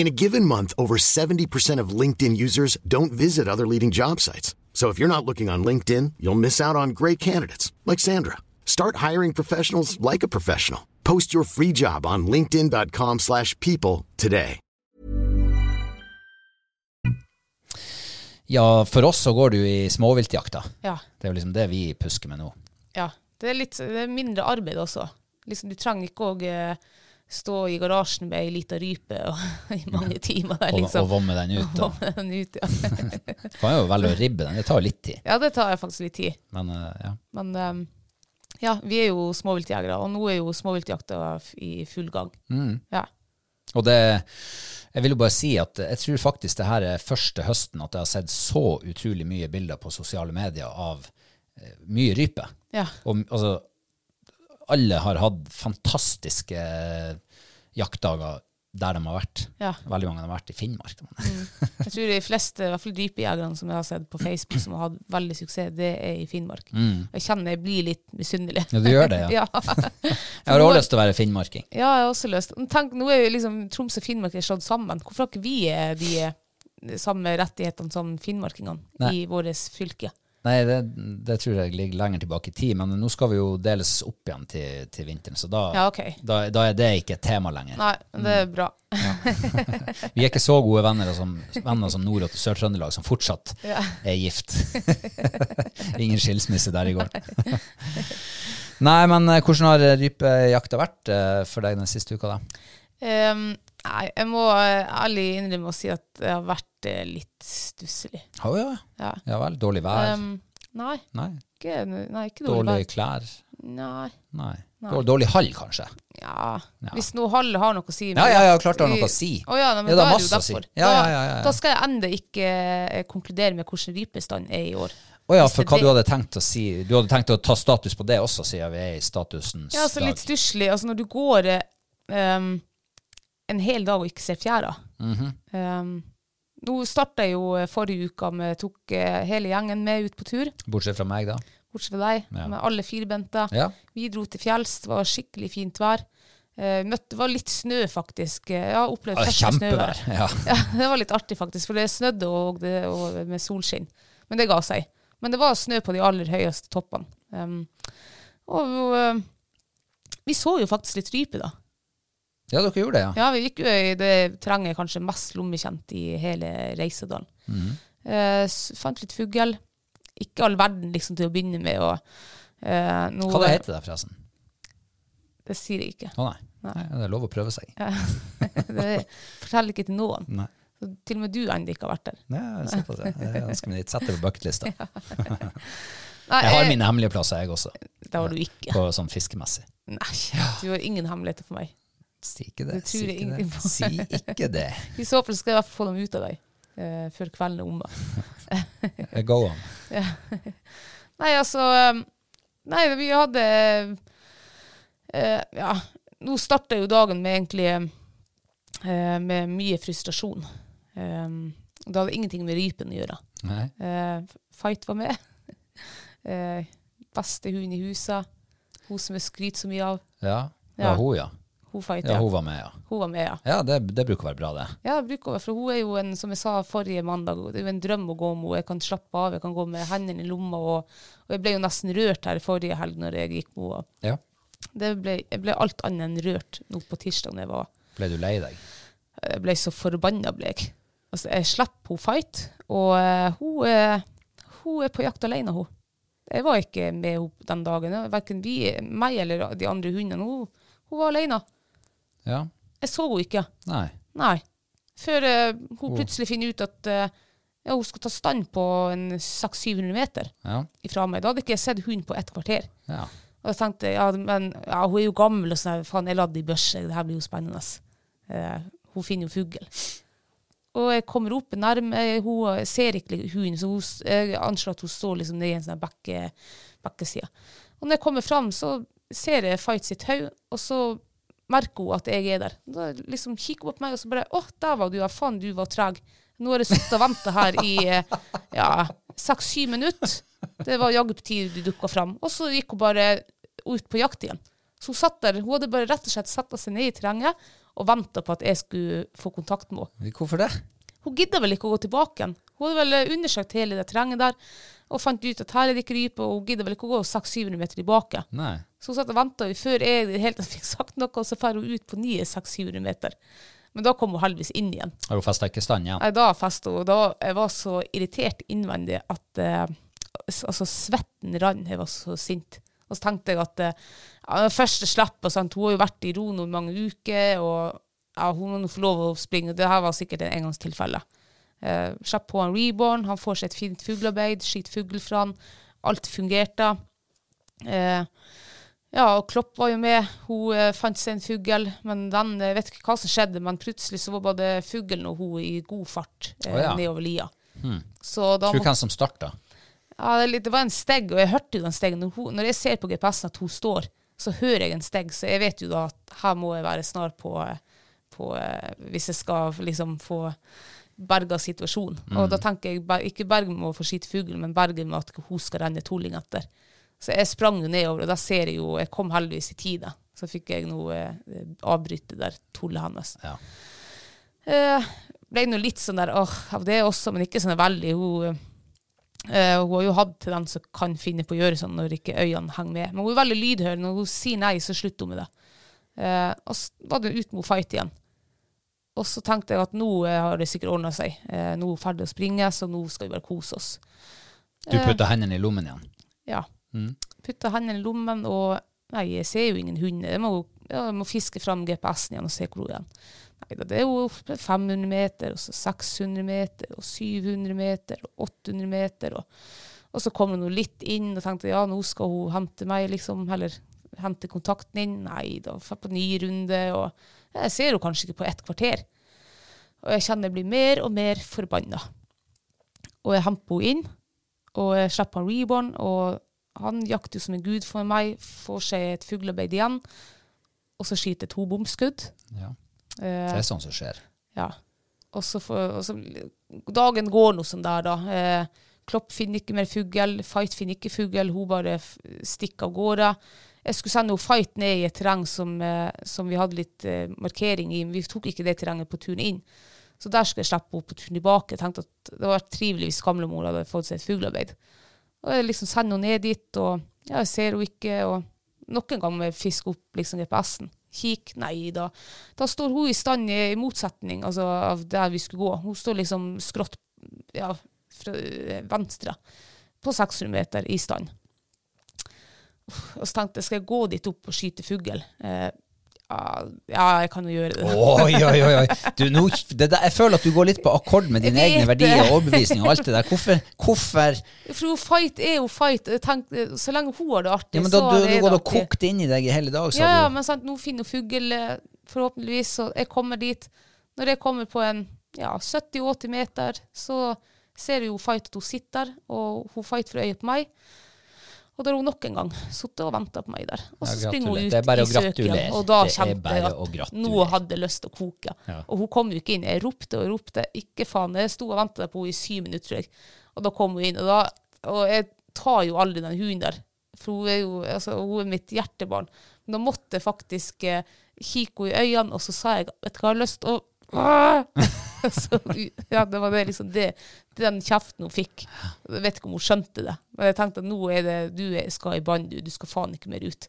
In a given month, over 70% of LinkedIn users don't visit other leading job sites. So if you're not looking on LinkedIn, you'll miss out on great candidates like Sandra. Start hiring professionals like a professional. Post your free job on linkedin.com/people slash people today. Ja, for oss så går du i småviltjakta. Ja. Det er jo liksom det vi pusker med nå. ja. Det er litt det er mindre arbeid også. Liksom, du trenger ikke å eh, stå i garasjen med ei lita rype og, i mange timer. Der, Og, og liksom. vomme den ut. Og. Vomme den ut, ja. Du kan jo velge å ribbe den, det tar jo litt tid. ja, det tar jeg faktisk litt tid. Men eh, ja. Men ehm, ja, vi er jo småviltjegere, og nå er jo småviltjakta f- i full gang. Mm. Ja. Og det Jeg vil jo bare si at jeg tror faktisk det her er første høsten at jeg har sett så utrolig mye bilder på sosiale medier av eh, mye rype. Ja. Og altså Alle har hatt fantastiske jaktdager der de har vært. Ja. Mm. Veldig mange har vært i Finnmark. Jeg tror de fleste, i hvert fall rypejegerne som jeg har sett på Facebook, som har hatt veldig suksess, det er i Finnmark. Jeg kjenner jeg blir litt misunnelig. Ja, du gjør det, Mm. ja. Jeg har også lyst til å være finnmarking. Ja, jeg har også lyst. Men Tenk, nå er jo liksom Troms og Finnmark er slått sammen. Hvorfor har ikke vi eh, de eh, samme rettighetene som finnmarkingene i Nei. vårt fylke? Nei, det, det tror jeg ligger lenger tilbake i tid, men nå skal vi jo deles opp igjen til, til vinteren, så da, Ja, ok. da, da er det ikke et tema lenger. Nei, det Mm. er bra. Vi er ikke så gode venner som, venner som Nord- og Sør-Trøndelag, som fortsatt er gift. Ingen skilsmisse der i går. Nei, men eh, hvordan har rypejakta vært eh, for deg den siste uka, da? Ehm, nei, jeg må eh, ærlig innrømme å si at jeg har vært eh, litt stusslig. Å ja. Ja. ja vel. Dårlig vær? Ehm, nei, nei. ikke, nei, ikke dårlig Dårlige vær. klær? Nei, Nei. Dårlig, dårlig hall, kanskje? ja. Hvis nå Hall har noe å si Ja, ja, ja, klart han har noe å si. Å ja, nei, men Ja, det da har er det jo masse å si. derfor. Ja, Da- ja, ja, ja, ja. Da skal jeg enda ikke eh, konkludere med hvordan rypestand er i år. Å ja, Hvis for det hva er du det- hadde tenkt å si Du hadde tenkt å ta status på det også, siden vi er i statusens Ja, altså litt dag. stusslig. Altså når du går eh, ehm, en hel dag og ikke ser fjæra. Mhm. Ehm, nå starta jeg jo eh, forrige uka med tok eh, hele gjengen med ut på tur, Bortsett fra meg, da. bortsett fra deg, Ja. med alle firbente. Ja. Vi dro til fjells, det var skikkelig fint vær. Eh, møtte, det var litt snø, faktisk. Eh, Jeg har opplevd Ja, første snøvær. Kjempevær. Ja. Ja, det var litt artig, faktisk, for det snødde og, det, og med solskinn. Men det ga seg. Men det var snø på de aller høyeste toppene. Ehm, og eh, vi så jo faktisk litt rype, da. ja, dere gjorde det, ja. Ja, vi gikk jo i det terrenget kanskje mest lommekjent i hele Reisadalen. Mhm. Eh, s- fant litt fugl. Ikke all verden liksom til å begynne med. Og, eh, nå, Hva det heter det, forresten? Det sier jeg ikke. Å nei. nei. Det er lov å prøve seg. Det forteller ikke til noen. Nei. Så Til og med du enda ikke har vært der. Ja, jeg setter det. Jeg ønsker meg dit. Sett det på bucketlista. Nei, Jeg har eh, mine hemmelige plasser, jeg også. Det har du ikke. På sånn fiskemessig. Nei, du har ingen hemmeligheter for meg. Si ikke det. Det Si tror jeg ikke ingenting det. på. Si ikke det. I så fall skal jeg i hvert fall få dem ut av deg eh, før kvelden er omme. Go on. Nei, altså eh, Nei, vi hadde eh, Ja, nå starta jo dagen med egentlig eh, med mye frustrasjon. Eh, det hadde ingenting med rypen å gjøre. Nei. Eh, fight var med. Eh, beste hunden i huset. Hun som jeg skryter så mye av. Ja. ja, Ja. hun, ja. Hun fight, Ja, hun var med, ja. Hun var med, ja. Ja, det, det bruker å være bra, det. Ja, bruk over, for hun er jo en, som jeg sa forrige mandag, det er jo en drøm å gå med henne. Jeg kan slappe av, jeg kan gå med hendene i lomma, og, og jeg ble jo nesten rørt her forrige helg når jeg gikk med henne. Ja. Det ble, jeg ble alt annet enn rørt nå på tirsdag når jeg var Ble du lei deg? Jeg ble så forbanna, ble jeg. Altså, jeg slapp hun fight, og eh, hun, er- hun er på jakt alene, hun. Jeg var ikke med henne den dagen, verken vi, meg eller de andre hundene. Hun, hun var alene. Ja. Jeg så henne ikke. Nei. Nei. Før eh, hun plutselig finner ut at eh, ja, hun skal ta stand på en 600-700 meter Ja. ifra meg. Da hadde ikke jeg sett hunden på ett kvarter. ja. Og jeg tenkte ja, men ja, hun er jo gammel, og sånn, her, faen, jeg la det i børse, det her blir jo spennende. Eh, hun finner jo fugl. Og jeg kommer opp nærme, eh, hun ser ikke hunden, så hun, s- jeg anslår at hun står liksom nede i en sånn her bekke, bekkeside. Og når jeg kommer fram, så ser jeg Fight sitt hode, og så merker hun at jeg er der. Da liksom kikker hun på meg, og så bare Å, der var du, ja. Faen, du var treg. Nå har jeg sittet og venta her i eh, ja, seks-syv minutter. Det var jaggu på tide du dukka fram. Og så gikk hun bare ut på jakt igjen. Så hun satt der, hun hadde bare rett og slett satt seg ned i terrenget og venta på at jeg skulle få kontakt med henne. Hvorfor det? Hun gidda vel ikke å gå tilbake igjen. Hun hadde vel eh, undersøkt hele det terrenget der og fant ut at her er det ikke rype, og hun gidda vel ikke å gå 600-700 meter tilbake. Nei. Så hun satt og venta før jeg i det hele tatt fikk sagt noe, og så drar hun ut på nye 600-700 meter. Men da kom hun heldigvis inn igjen. Har hun festa ikke i stand igjen? Nei, da festa hun. Da jeg var så irritert innvendig at eh, s- altså, svetten rant. Jeg var så sint. Og så tenkte jeg at eh, ja, det første slippet sant? Hun har jo vært i ro nå i mange uker, og ja, hun må nå få lov å springe. Det her var sikkert en engangstilfelle. Eh, Slipp på en reborn, han får seg et fint fuglearbeid, skyter fugl fra han. Alt fungerte. Eh, ja, og Klopp var jo med. Hun eh, fant seg en fugl, men den eh, vet ikke hva som skjedde, men plutselig så var både fuglen og hun i god fart eh, Å, ja. Hmm. nedover lia. Så da Tror må, du hvem som starta? ja, det, er litt- det var en steg, og jeg hørte jo den stegen. Når, hun, når jeg ser på GPS-en at hun står, så hører jeg en steg, så jeg vet jo da at her må jeg være snar på, eh, på eh, hvis jeg skal liksom få berga situasjonen. Og da tenker jeg ber- ikke berg med å få skyte fuglen, men berg med at hun skal renne tolling etter. Så jeg sprang jo nedover, og da ser jeg jo Jeg kom heldigvis i tide. Så fikk jeg nå eh, avbryte der tullet hennes. Ja. Eh, ble nå litt sånn der åh, av det også, men ikke sånn veldig. Hun, eh, hun har jo hatt til den som kan finne på å gjøre sånn når ikke øynene henger med. Men hun er veldig lydhør. Når hun sier nei, så slutter hun med det. Eh, og så var det ut mot fight igjen. Og så tenkte jeg at nå eh, har det sikkert ordna seg. Eh, nå er hun ferdig å springe, så nå skal vi bare kose oss. Du putta hendene i lommen igjen? Ja. Putta hendene i lommen, og nei, jeg ser jo ingen hund. Jeg må, ja, jeg må fiske fram GPS-en igjen og se hvor hun er. Nei, da, det er jo 500 meter, og så 600 meter, og 700 meter, og 800 meter. Og, og så kom hun jo litt inn og tenkte ja, nå skal hun hente meg, liksom. Eller hente kontakten inn. Nei, da får jeg på ny runde. Og jeg ser henne kanskje ikke på ett kvarter. Og jeg kjenner jeg blir mer og mer forbanna. Og jeg hemper henne inn og jeg slipper han reborn, og han jakter jo som en gud for meg, får seg et fuglearbeid igjen, og så skyter jeg to bomskudd. Ja. Eh, Det er sånt som skjer. ja. Og så får- og så, dagen går nå som der, da. Eh, Klopp finner ikke mer fugl, Fight finner ikke fugl, hun bare f stikker av gårde. Jeg skulle sende hun Fight ned i et terreng som, eh, som vi hadde litt eh, markering i, men vi tok ikke det terrenget på turen inn. Så der skulle jeg slippe henne på turen tilbake. Jeg tenkte at det var trivelig hvis gamlemor hadde fått seg et fuglearbeid. Og jeg liksom sender henne ned dit, og ja, jeg ser henne ikke. og Noen ganger må jeg fiske opp liksom GPS-en. Kikk, nei da. Da står hun i stand i i motsetning altså, av der vi skulle gå. Hun står liksom skrått ja, fra eh, venstre på 600 meter i stand. Uff, Og så tenkte jeg, skal jeg gå dit opp og skyte fugl? Eh, ja, ja, jeg kan jo gjøre det. Oi, oi, oi. oi. Du, nå, det der, jeg føler at du går litt på akkord med dine Jeg egne vet det. verdier og overbevisninger og alt det der. Hvorfor? hvorfor? For hun fight er jo fight. Jeg tenkte, så lenge hun har det artig, Ja, men da, så du, har du jeg går det og artig. kokt inn i deg i hele dag, sa Ja, ja, du. men sant, nå finner hun fugl, eh, forhåpentligvis, og jeg kommer dit. Når jeg kommer på en ja, 70-80 meter, så ser jo Fight at hun sitter, og hun Fight får øye på meg. Og da har hun nok en gang sittet og venta på meg der. Og så Ja, springer hun gratulerer. ut Det er bare i å søken, gratulere. og da Det er kjente bare jeg å at gratulere. nå hadde jeg lyst til å koke. Ja. Og hun kom jo ikke inn. Jeg ropte og ropte. Ikke faen. Jeg sto og venta på henne i syv minutter, tror jeg. Og da kom hun inn. Og, da, og jeg tar jo aldri den hunden der, for hun er jo altså, hun er mitt hjertebarn. Men da måtte jeg faktisk eh, kikke henne i øynene, og så sa jeg vet du hva, jeg har lyst til å så, ja, det var det, liksom det, den kjeften hun fikk. Jeg vet ikke om hun skjønte det, men jeg tenkte at nå er det du er- skal i bånd, du. Du skal faen ikke mer ut.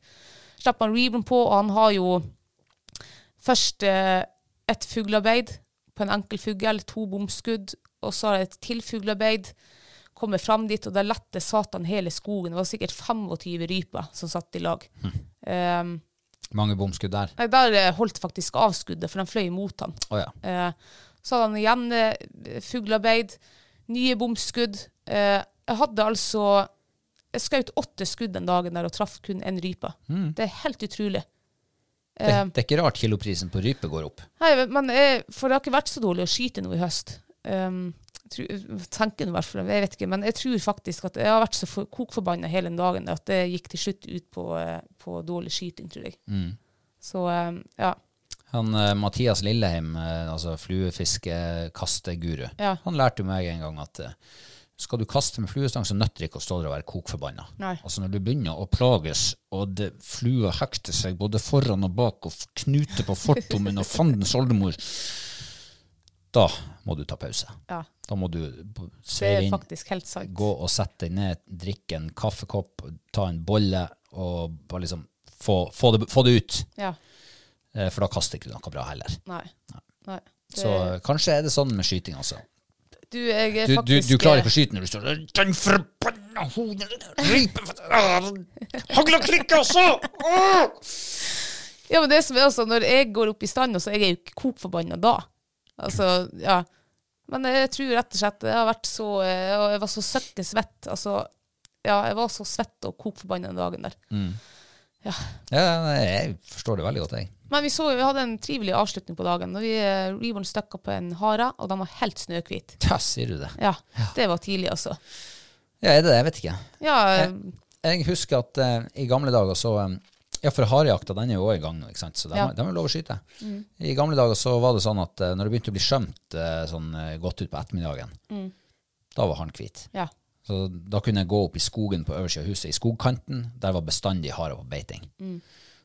Slipper han Reborn på, og han har jo først eh, et fuglearbeid på en enkel fugl, to bomskudd, og så har jeg et til fuglearbeid. Kommer fram dit, og der lette satan hele skogen. Det var sikkert 25 ryper som satt i lag. Eh, Mange bomskudd der. nei, der eh, holdt faktisk avskuddet, for den fløy mot han. Å ja. Eh, så hadde han igjen eh, fuglearbeid, nye bomskudd. Eh, jeg hadde altså Jeg skjøt åtte skudd den dagen der og traff kun én rype. Det er helt utrolig. Det, Eh. det er ikke rart kiloprisen på rype går opp. Nei, men jeg, For det har ikke vært så dårlig å skyte nå i høst. Um, jeg tror- jeg tenker nå i hvert fall, jeg vet ikke, men jeg tror faktisk at jeg har vært så for- kokforbanna hele den dagen at det gikk til slutt ut på, eh, på dårlig skyting, tror jeg. Mm. Så um, ja. Han, eh, Mathias Lilleheim, eh, altså fluefiskekasteguru, Ja. han lærte jo meg en gang at eh, skal du kaste med fluestang, så nøtter det ikke å stå der og være kokforbanna. Nei. Altså når du begynner å plages, og det, flua hekter seg både foran og bak, og f- knuter på fortommen og fandens oldemor, da må du ta pause. ja. Da må du b- Det seile er inn, faktisk helt sant. gå og sette deg ned, drikke en kaffekopp, ta en bolle, og bare liksom få, få, det, få det ut. Ja. Eh, For da kaster ikke du noe bra heller. Nei. Nei. Nei. Det- Så kanskje er det sånn med skyting, altså. Du, jeg er Du, du, faktisk du klarer ikke å skyte når du står der Den forbanna hodet Rypen Hagla klikker også! Åh! Ja, men det som er altså, når jeg går opp i stand, så er jeg jo ikke kokforbanna da. Altså, ja. Men jeg tror rett og slett jeg har vært så eh, Og jeg var så søkkesvett. Altså, ja, jeg var så svett og kokforbanna den dagen der. Ja, nei, jeg forstår det veldig godt, jeg. Men vi, så, vi hadde en trivelig avslutning på dagen. Når vi eh, Reborn stakk opp på en hare, og den var helt snøhvit. Ja, sier du det? Ja, det var tidlig, altså. Ja, er det det? Jeg vet ikke. Ja, eh, Jeg husker at eh, i gamle dager så eh, Ja, for harejakta den er jo også i gang nå, ikke sant? så de Ja. Mm. har de har lov å skyte. I gamle dager så var det sånn at eh, når det begynte å bli skjømt eh, sånn eh, godt utpå ettermiddagen, Mm. da var han hvit. ja. Så da kunne jeg gå opp i skogen på øversida av huset, i skogkanten. Der var bestandig hare på beiting. Mm.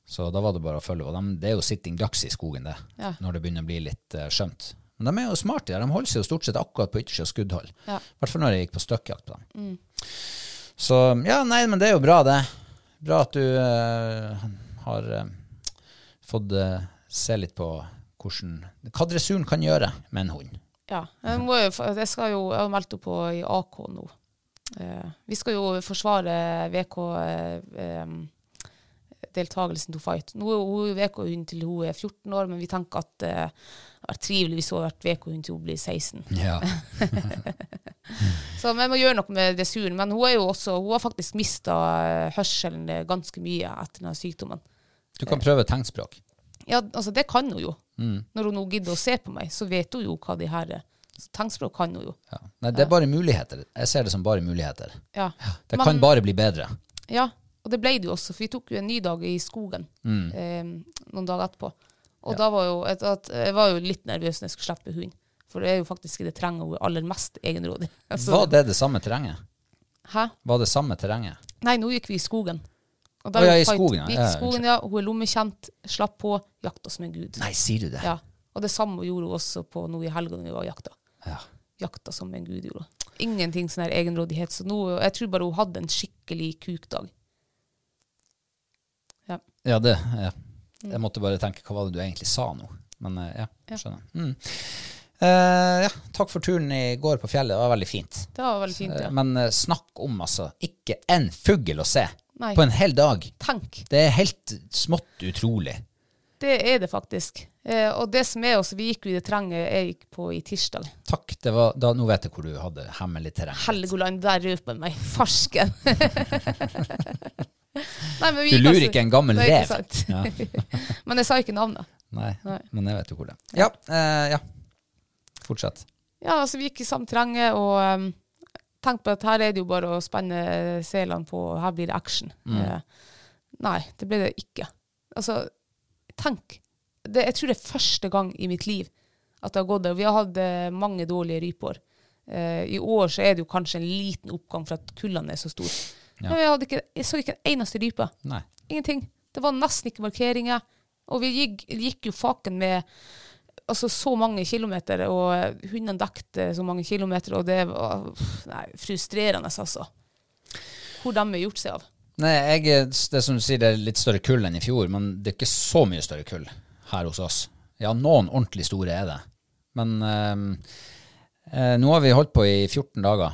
Så da var det bare å følge. Og de, det er jo sitting ducks i skogen, det, Ja. når det begynner å bli litt eh, skjømt. Men de er jo smarte. der. De holder seg jo stort sett akkurat på yttersida av skuddhold. I Ja. Mm. hvert fall når jeg gikk på støkkjakt på dem. Så ja, nei, men det er jo bra, det. Bra at du eh, har eh, fått eh, se litt på hvordan, hva dressuren kan gjøre med en hund. ja. Jeg, må, jo- for jeg, skal jo, jeg har meldt opp på, i AK nå. Eh, vi skal jo forsvare eh, VK-deltagelsen to fight. Nå er hun VK-hund til hun er 14 år, men vi tenker at eh, det har vært trivelig hvis hun har vært VK-hund til hun blir 16. Ja. Så vi må gjøre noe med dressuren. Men hun, er jo også, hun har faktisk mista hørselen eh, ganske mye etter denne sykdommen. Du kan prøve tegnspråk. Ja, altså det kan hun jo. Når hun nå gidder å se på meg, så vet hun jo hva de her er. Så tegnspråk kan hun jo. Ja. Nei, det er bare muligheter. Jeg ser det som bare muligheter. Ja. Det Men- kan bare bli bedre. Ja, og det ble det jo også, for vi tok jo en ny dag i skogen Mm. eh, noen dager etterpå. Og da var jo, et, at, jeg var jo litt nervøs når jeg skulle slippe hunden. For det er jo faktisk i det terrenget hun er aller mest egenrådig. Altså, Var det det samme terrenget? Hæ? Var det samme terrenget? Nei, nå gikk vi i skogen. Og Å, ja, er jo i fight. skogen, ja. Vi gikk Ja, i skogen, ja. Hun er lommekjent, slapp på, jakt oss med Gud. Nei, sier du det? Ja. Og det samme gjorde hun også på nå i helga når vi var og jakta. Ja. jakta som en gud gjorde. Ingenting sånn her egenrådighet. Så nå, jeg tror bare hun hadde en skikkelig kukdag. Ja. Ja, det. Ja. Jeg måtte bare tenke, hva var det du egentlig sa nå? Men eh, ja, skjønner. Mm. Eh, ja, takk for turen i går på fjellet. Det var veldig fint. Det var veldig fint, Eh, ja. Men eh, snakk om, altså, ikke en fugl å se Nei. på en hel dag. Tenk, Det er helt smått utrolig. det er det faktisk. Eh, og det som er også, vi gikk jo i det terrenget jeg gikk på i tirsdag. Takk, det var, da, nå vet jeg hvor du hadde hemmelig terreng. Helgoland, der røp jeg meg. Farsken. Nei, men vi Du gikk lurer altså- ikke en gammel Nei, ikke rev. sant. Ja. Men jeg sa ikke navnet. Nei, Nei. men jeg vet jo hvor det er. Ja, eh, ja. Fortsett. Ja, altså vi gikk i samme terrenget, og um, tenk på at her er det jo bare å spenne eh, selene på, og her blir det action. Eh, nei, det ble det ikke. Altså, tenk. Det, jeg tror det er første gang i mitt liv at det har gått der. Vi har hatt eh, mange dårlige rypeår. Eh, I år så er det jo kanskje en liten oppgang for at kullene er så store. Men jeg, hadde ikke, jeg så ikke en eneste rype. Nei. Ingenting. Det var nesten ikke markeringer. Og vi gikk, gikk jo faken med altså, så mange kilometer, og eh, hundene dekte så mange kilometer, og det var uff, nei, frustrerende, altså. Hvor de har gjort seg av. Nei, jeg, er- det er som du sier, det er litt større kull enn i fjor, men det er ikke så mye større kull her hos oss. Ja, noen ordentlig store er det. Men ehm, eh, nå har vi holdt på i 14 dager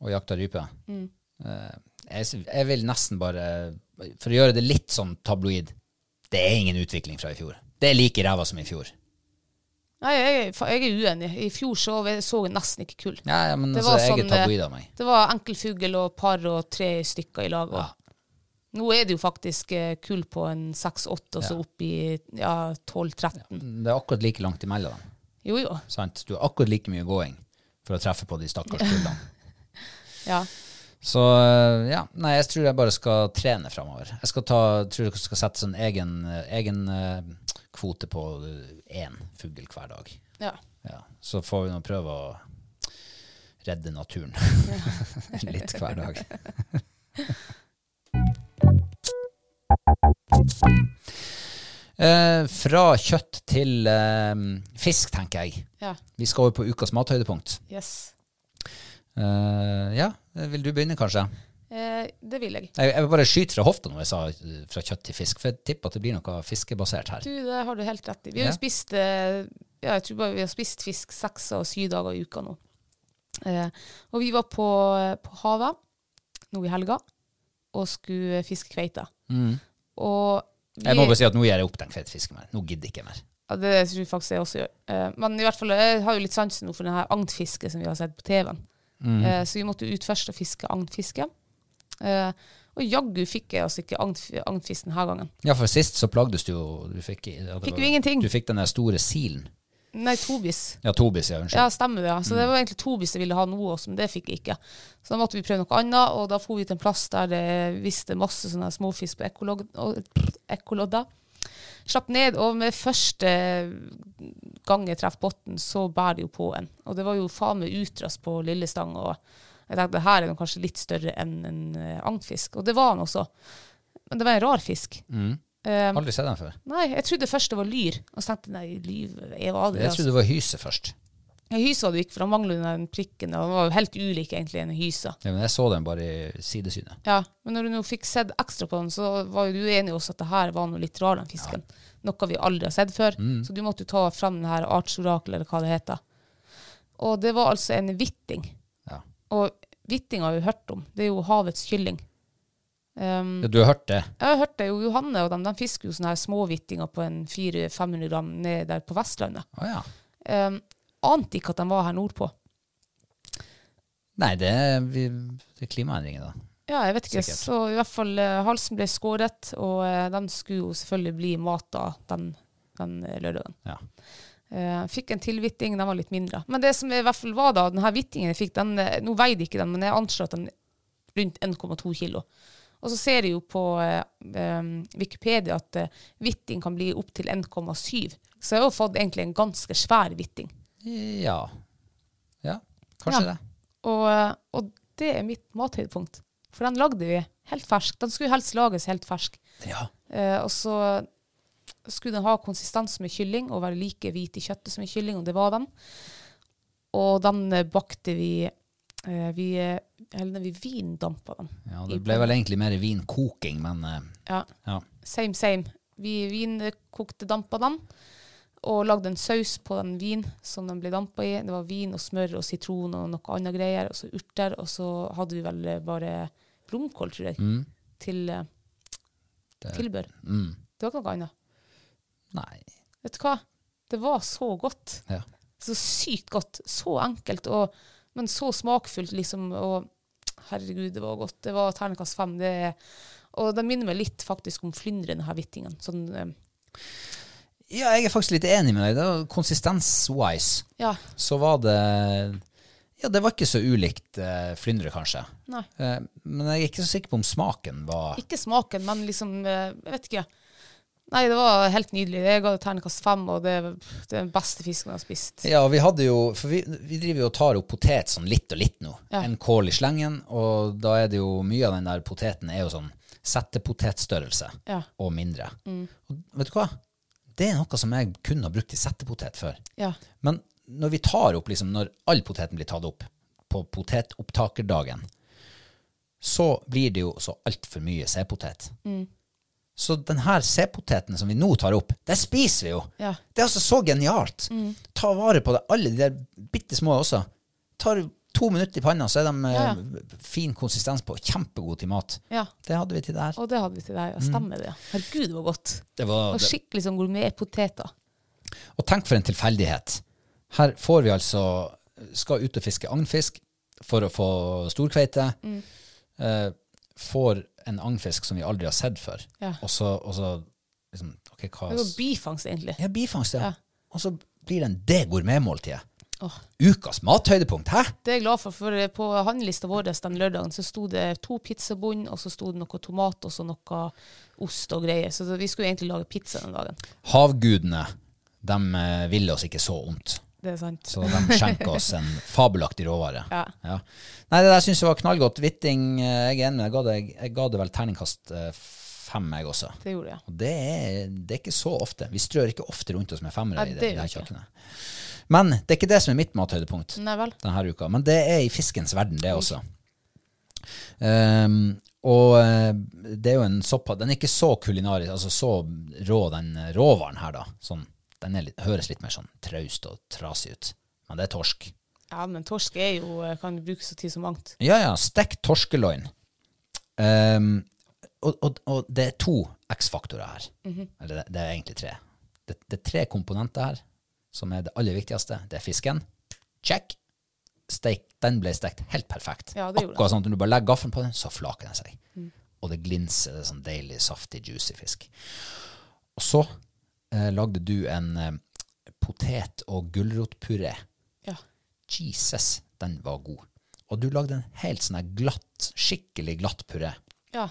og jakta rype. Mm. Eh, jeg, s- jeg vil nesten bare, for å gjøre det litt sånn tabloid, det er ingen utvikling fra i fjor. Det er like ræva som i fjor. Nei, jeg, er- fa- jeg er uenig. I fjor så vi- så jeg nesten ikke kull. Ja, ja, men Det altså, var jeg sånn, er eh, tabloid av meg. Det var enkel fugl og par og tre stykker i lag. og Ja. Nå er det jo faktisk eh, kull på en 6-8, og så opp i ja, 12-13. Det er akkurat like langt imellom dem. Jo, jo. Sant? Du har akkurat like mye gåing for å treffe på de stakkars kullene. Ja. Så eh, ja, nei, jeg tror jeg bare skal trene framover. Jeg skal ta, tror jeg skal sette sånn egen, eh, egen eh, kvote på eh, én fugl hver dag. ja. Ja, så får vi nå prøve å redde naturen litt hver dag. Eh, fra kjøtt til eh, fisk, tenker jeg. ja. Vi skal over på ukas mathøydepunkt. Yes. Eh, ja, vil du begynne, kanskje? Eh, det vil jeg. Jeg, jeg vil bare skyte fra hofta når jeg sa eh, fra kjøtt til fisk, for jeg tipper at det blir noe fiskebasert her. Du, det har du helt rett i. Vi Ja. har jo spist eh, ja, jeg tror bare vi har spist fisk seks av syv dager i uka nå. Eh, og vi var på, på havet nå i helga og skulle fiske kveite. Og vi, Mm. Jeg må bare si at nå gir jeg opp den kveitefisken her. Nå gidder jeg ikke mer. ja, det tror jeg faktisk jeg også gjør. Eh, men i hvert fall, jeg har jo litt sansen nå for denne agnfisket som vi har sett på TV-en. Mm. Eh, så vi måtte jo ut først og fiske agnfiske. Eh, og jaggu fikk jeg altså ikke agnf- agnfisk denne gangen. Ja, for sist så plagdes du jo Du fikk, ja, det Fikk var- jo ingenting. Du fikk den der store silen. Nei, tobis. Ja, Tobis, ja, Mm. unnskyld. Ja, stemmer det. ja. Så det var egentlig Tobis jeg ville ha nå også, men det fikk jeg ikke. Så da måtte vi prøve noe annet, og da for vi til en plass der det visste masse sånne småfisk på ekolog- og- ekkolodda. Slapp ned, og med første gang jeg treffer bunnen, så bærer det jo på en. Og det var jo faen meg utras på lille stang, og jeg tenkte det her er den kanskje litt større enn en eh, agnfisk. Og det var den også. Men det var en rar fisk. Mm. Eh, Aldri sett den før. nei, jeg trodde først det var lyr, og så tenkte jeg nei, lyr jeg var aldri Jeg trodde det var hyse først. ja, hysa hadde du ikke, for han manglet den prikken. Og han var jo helt ulik egentlig en hysa. Ja, men jeg så den bare i sidesynet. Ja, Men når du nå fikk sett ekstra på den, så var jo du enig i også at det her var noe litt rar, den fisken. Noe vi aldri har sett før. Så du måtte jo ta frem den her artsorakelet, eller hva det heter. Og det var altså en hvitting. Ja. Og hvitting har vi hørt om. Det er jo havets kylling. Um, ja, du har hørt det? jeg har hørt det jo, Johanne og dem, de fisker jo sånne her småhvittinger på en 400-500 gram ned der på Vestlandet. Å ja. Um, ante ikke at de var her nordpå. Nei, det er, vi, det er klimaendringer, da. Ja, jeg vet ikke. Sikkert. Så i hvert fall eh, halsen ble skåret, og eh, den skulle jo selvfølgelig bli mata den, den eh, lørdagen. Ja. Eh, fikk en til hvitting, den var litt mindre. Men det som i hvert fall var da, den her hvittingen jeg fikk, den, eh, nå veide ikke den, men jeg anslår at den er rundt 1,2 kilo. Og så ser jeg jo på eh, eh, Wikipedia at eh, hvitting kan bli opptil 1,7. Så jeg har jo fått egentlig en ganske svær hvitting. Ja. ja kanskje Ja. det. Og, eh, og det er mitt mathøydepunkt. For den lagde vi helt fersk. Den skulle helst lages helt fersk. Ja. Eh, og så skulle den ha konsistens med kylling og være like hvit i kjøttet som i kylling, og det var den. Og den eh, bakte vi eh, vi, eh, eller vi vindampa den. ja, i det ble panna. vel egentlig mer vinkoking, men eh, ja, ja. Same, same. Vi vinkokte dampa den, og lagde en saus på den vin som den ble dampa i. Det var vin og smør og sitron og noe annet greier, og så urter. Og så hadde vi vel eh, bare blomkål, tror jeg, til eh, tilbør. Mm. Det var ikke noe annet. Nei. Vet du hva? Det var så godt. Ja. Så sykt godt. Så enkelt, og, men så smakfullt, liksom. Og herregud, det var godt. Det var terningkast fem. Det, er- og det minner meg litt faktisk om flyndre, denne hvittingen. Sånn, eh, ja, jeg er faktisk litt enig med deg. Det var Konsistens-wise ja. så var det Ja, det var ikke så ulikt eh, flyndre, kanskje. Nei. Eh, men jeg er ikke så sikker på om smaken var Ikke smaken, men liksom eh, Jeg vet ikke. Nei, det var helt nydelig. Jeg ga det terningkast fem, og det, det er den beste fisken jeg har spist. Ja, vi hadde jo For vi, vi driver jo og tar opp potet sånn litt og litt nå. Ja. En kål i slengen, og da er det jo mye av den der poteten er jo sånn settepotetstørrelse Ja. Mm. og mindre. Og vet du hva? Det er noe som jeg kun har brukt i settepotet før. Ja. Men når vi tar opp, liksom når all poteten blir tatt opp på potetopptakerdagen, så blir det jo så altfor mye sepotet. Mm. Så den her sepoteten som vi nå tar opp, det spiser vi jo. Ja. Mm. Det er altså så genialt. Ta vare på det. Alle de der bitte små også. Tar to minutter i panna, så er de eh, Ja, fin konsistens på. Kjempegod til mat. Ja. Det hadde vi til der. Og det hadde vi til deg. Ja, stemmer det. Herregud, det var godt. Det Det var, var Mm. det, skikkelig sånn gourmetpoteter. og tenk for en tilfeldighet. Her får vi altså Skal ut og fiske agnfisk for å få storkveite. Mm. Eh, får en agnfisk som vi aldri har sett før. Ja. Og så, og så liksom, ok, hva Det var bifangst, egentlig. Ja, bifangst, ja. Ja. Og så blir det en det gourmetmåltidet. Åh. Ukas mathøydepunkt, hæ? Det er jeg glad for, for eh, på handlelista vår den lørdagen så sto det to pizzabunn, og så sto det noe tomat og så noe ost og greier. Så vi skulle egentlig lage pizza den dagen. Havgudene, de eh, ville oss ikke så ondt. Det er sant. Så de skjenker oss en fabelaktig råvare. Ja. Nei, det der syns jeg var knallgodt. Hvitting, eh, jeg er enig med deg. Jeg ga det- Jeg ga det vel terningkast eh, fem, jeg også. Det gjorde jeg. Og det er, det er ikke så ofte. Vi strør ikke ofte rundt oss med femmere Nei, i det, det det gjør her vi ikke. kjøkkenet. Men det er ikke det som er mitt mathøydepunkt Nei vel. denne uka. Men det er i fiskens verden, det også. Ehm, og eh, det er jo en såpass Den er ikke så kulinarisk, altså så rå, den eh, råvaren her, da. Sånn Den er litt, høres litt mer sånn traust og trasig ut. Men det er torsk. Ja, men torsk er jo, eh, kan brukes så tid som mangt. Ja, ja. Stekt torskeloin. Ehm, og, og, og det er to X-faktorer her. Mhm. Eller det, det er egentlig tre. Det, det er tre komponenter her som er det aller viktigste. Det er fisken. Check. Steik, den ble stekt helt perfekt. Ja, det gjorde Mm. Akkurat sånn at når du bare legger gaffelen på den, så flaker den seg. Og det glinser. Det er sånn deilig, saftig, juicy fisk. Og så eh, lagde du en eh, potet- og gulrotpuré. Ja. Jesus, den var god. Og du lagde en helt sånn her glatt, skikkelig glatt puré. Ja.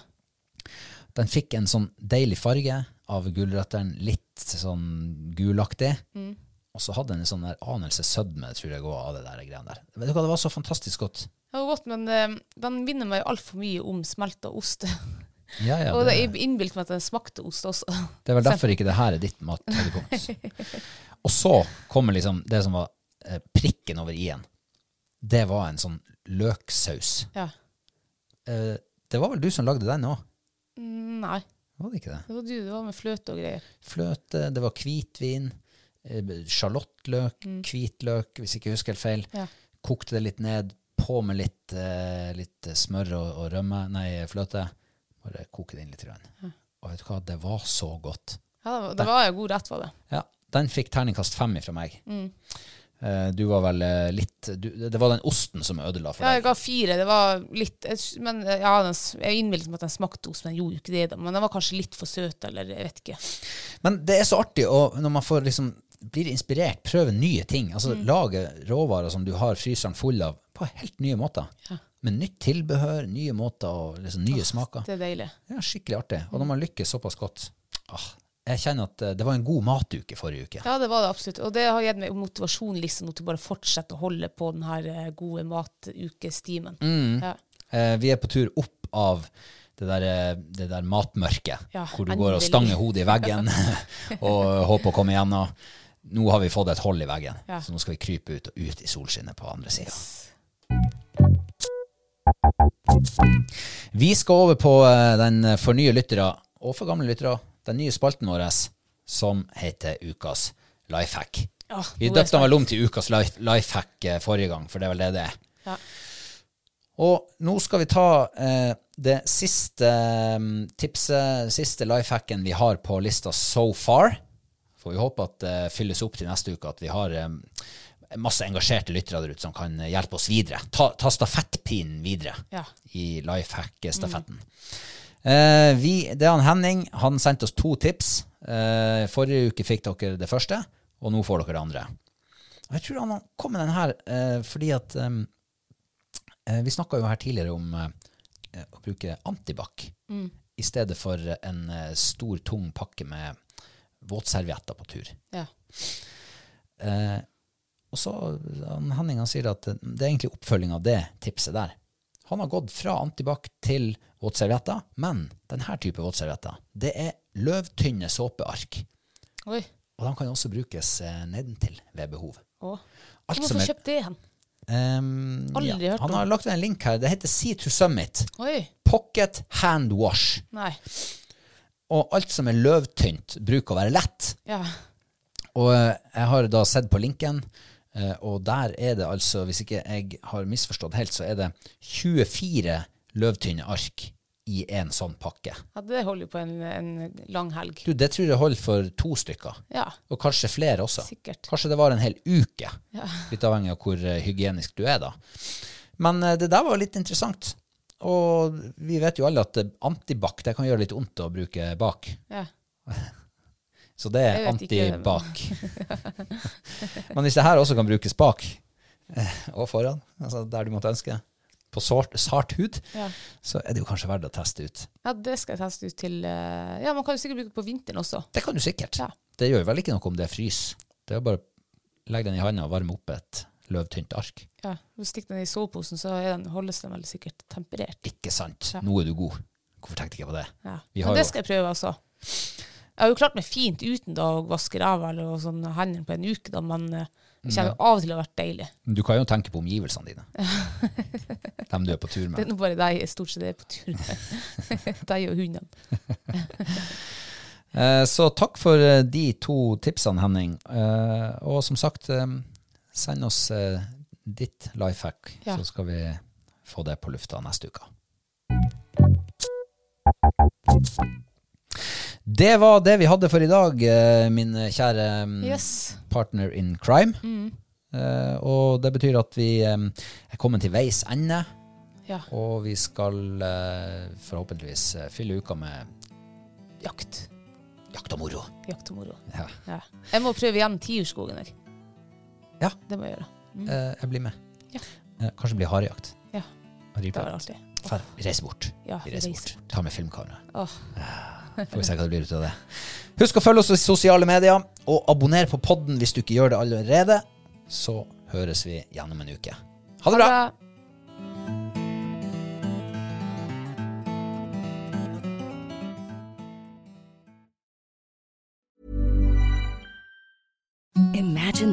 Den fikk en sånn deilig farge av gulrøtteren, litt sånn gulaktig. Og så hadde den en sånn der anelse sødme, tror jeg, også, av det der greiene der. Vet du hva, det var så fantastisk godt. Det var godt, men eh, den minner meg altfor mye om smelta ost. Ja, ja, og det, det, jeg innbilte meg at den smakte ost også. det er vel derfor ikke det her er ditt mathøydepunkt. Og så kommer liksom det som var eh, prikken over i-en. Det var en sånn løksaus. ja. Eh, det var vel du som lagde den òg, Nei, var det ikke det? det var du. Det var med fløte og greier. fløte, det var hvitvin, eh, sjalottløk, hvitløk, hvis jeg ikke husker helt feil. Ja. Kokte det litt ned, på med litt, eh, litt smør og, og rømme, nei, fløte. Bare koke det inn litt. Grann. Og vet du hva, det var så godt. Ja, det var, det var en god rett, var det. Ja, den fikk terningkast fem fra meg. Eh, Du var vel eh, litt du, Det var den osten som ødela for Ja, jeg deg. ga fire. Det var litt jeg s- Men eh, ja, den, s- jeg innbilte meg at den smakte ost, men den gjorde jo ikke det. da. Men den var kanskje litt for søt, eller jeg vet ikke. Men det er så artig å, når man får liksom, blir inspirert, prøve nye ting. Altså Lage råvarer som du har fryseren full av, på helt nye måter. Med nytt tilbehør, nye måter og liksom nye smaker. Det er deilig. Det er skikkelig artig. Og når man lykkes såpass godt ah, Jeg kjenner at eh, det var en god matuke forrige uke. Ja, det var det absolutt. Og det har gitt meg motivasjon liksom, nå til bare å fortsette å holde på den her eh, gode matukestimen. Ja. Eh, vi er på tur opp av det der, eh, det der matmørket, Ja, hvor du går og endelig. stanger hodet i veggen og håper å komme igjennom. Nå har vi fått et hold i veggen, Ja. så nå skal vi krype ut og ut i solskinnet på andre sida. Vi skal over på eh, den for nye lyttere, og for gamle lyttere, den nye spalten vår som heter Ukas lifehack. Ja, Vi nå er jeg døpte den vel om til Ukas life, lifehack eh, forrige gang, for det er vel det det er. Ja. Og nå skal vi ta eh, det siste mm, tipset, siste lifehacken vi har på lista so far. Får vi håpe at det fylles opp til neste uke, at vi har eh, masse engasjerte lyttere der ute som kan eh, hjelpe oss videre. Ta, ta stafettpinnen videre Ja. i lifehack-stafetten. Eh, vi, det er han Henning. Han sendte oss to tips. Eh, forrige uke fikk dere det første, og nå får dere det andre. Og Jeg tror han kom med den her eh, fordi at eh, Eh, Vi snakka jo her tidligere om eh, å bruke antibac Mm. i stedet for en eh, stor, tung pakke med våtservietter på tur. Ja. Eh, og så han, Henning han sier at eh, det er egentlig oppfølging av det tipset der. Han har gått fra antibac til våtservietter, men denne type våtservietter det er løvtynne såpeark. Oi. Og de kan også brukes eh, nedentil ved behov. Å. Alt Hvorfor som er- kjøpte jeg den? Ehm, Aldri ja. hørt Han om. har lagt en link her. Det heter Sea to Summit. Oi. Pocket hand wash. Nei. Og alt som er løvtynt, bruker å være lett. Ja. Og eh, jeg har da sett på linken, eh, og der er det altså, hvis ikke jeg har misforstått helt, så er det 24 løvtynne ark i en sånn pakke. ja, det holder jo på en, en lang helg. Du, det tror jeg holder for to stykker. Ja. Og kanskje flere også. Sikkert. Kanskje det var en hel uke. Litt avhengig av hvor eh, hygienisk du er, da. Men eh, det der var litt interessant. Og vi vet jo alle at eh, antibac det kan gjøre litt vondt å bruke bak. Ja. Så det er Jeg vet ikke det, men- antibac. Men hvis det her også kan brukes bak eh, og foran, altså der du måtte ønske, på sort, sart hud, Ja. så er det jo kanskje verdt å teste ut. ja, det skal jeg teste ut til eh, Ja, man kan jo sikkert bruke det på vinteren også. Det kan du sikkert. Ja. Det gjør vel ikke noe om det fryser. Det er jo bare å legge den i handa og varme opp et løvtynt ark. Ja, du stikker den i soveposen, så er den, holdes den veldig sikkert temperert. Ikke sant. Ja. Nå er du god. Hvorfor tenkte jeg ikke på det? Ja. Vi har Men det jo- skal jeg prøve, altså. Jeg har jo klart meg fint uten da å vaske ræva eller og sånn hendene på en uke, da, men eh, jeg Mm. kjenner jo av og til det har vært deilig. Du kan jo tenke på omgivelsene dine. Dem du er på tur Det er med. nå bare deg jeg stort sett er på tur med. deg og hundene. Eh, Så takk for eh, de to tipsene, Henning. Eh, Og som sagt, eh, send oss eh, ditt life hack, Ja. så skal vi få det på lufta neste uke. Det var det vi hadde for i dag, eh, min kjære mm, Yes. Mm. partner in crime. Eh, Og det betyr at vi eh, er kommet til veis ende. Ja. Og vi skal eh, forhåpentligvis eh, fylle uka med Jakt. jakt og moro. Jakt og moro. Ja. Ja. Jeg må prøve igjen tiurskogen her. Ja. Det må jeg gjøre. Eh, jeg blir med. Ja. Eh, kanskje det blir harejakt. Ja. Og Det var rypejakt. artig. Fer- Vi reiser bort. Ja, Vi reiser bort. Ta med filmkamera. Ah, Åh. Får vi se hva det blir ut av det. Husk å følge oss i sosiale medier, og abonner på podden hvis du ikke gjør det allerede. Så høres vi gjennom en uke. Ha det bra! Bra. Imagine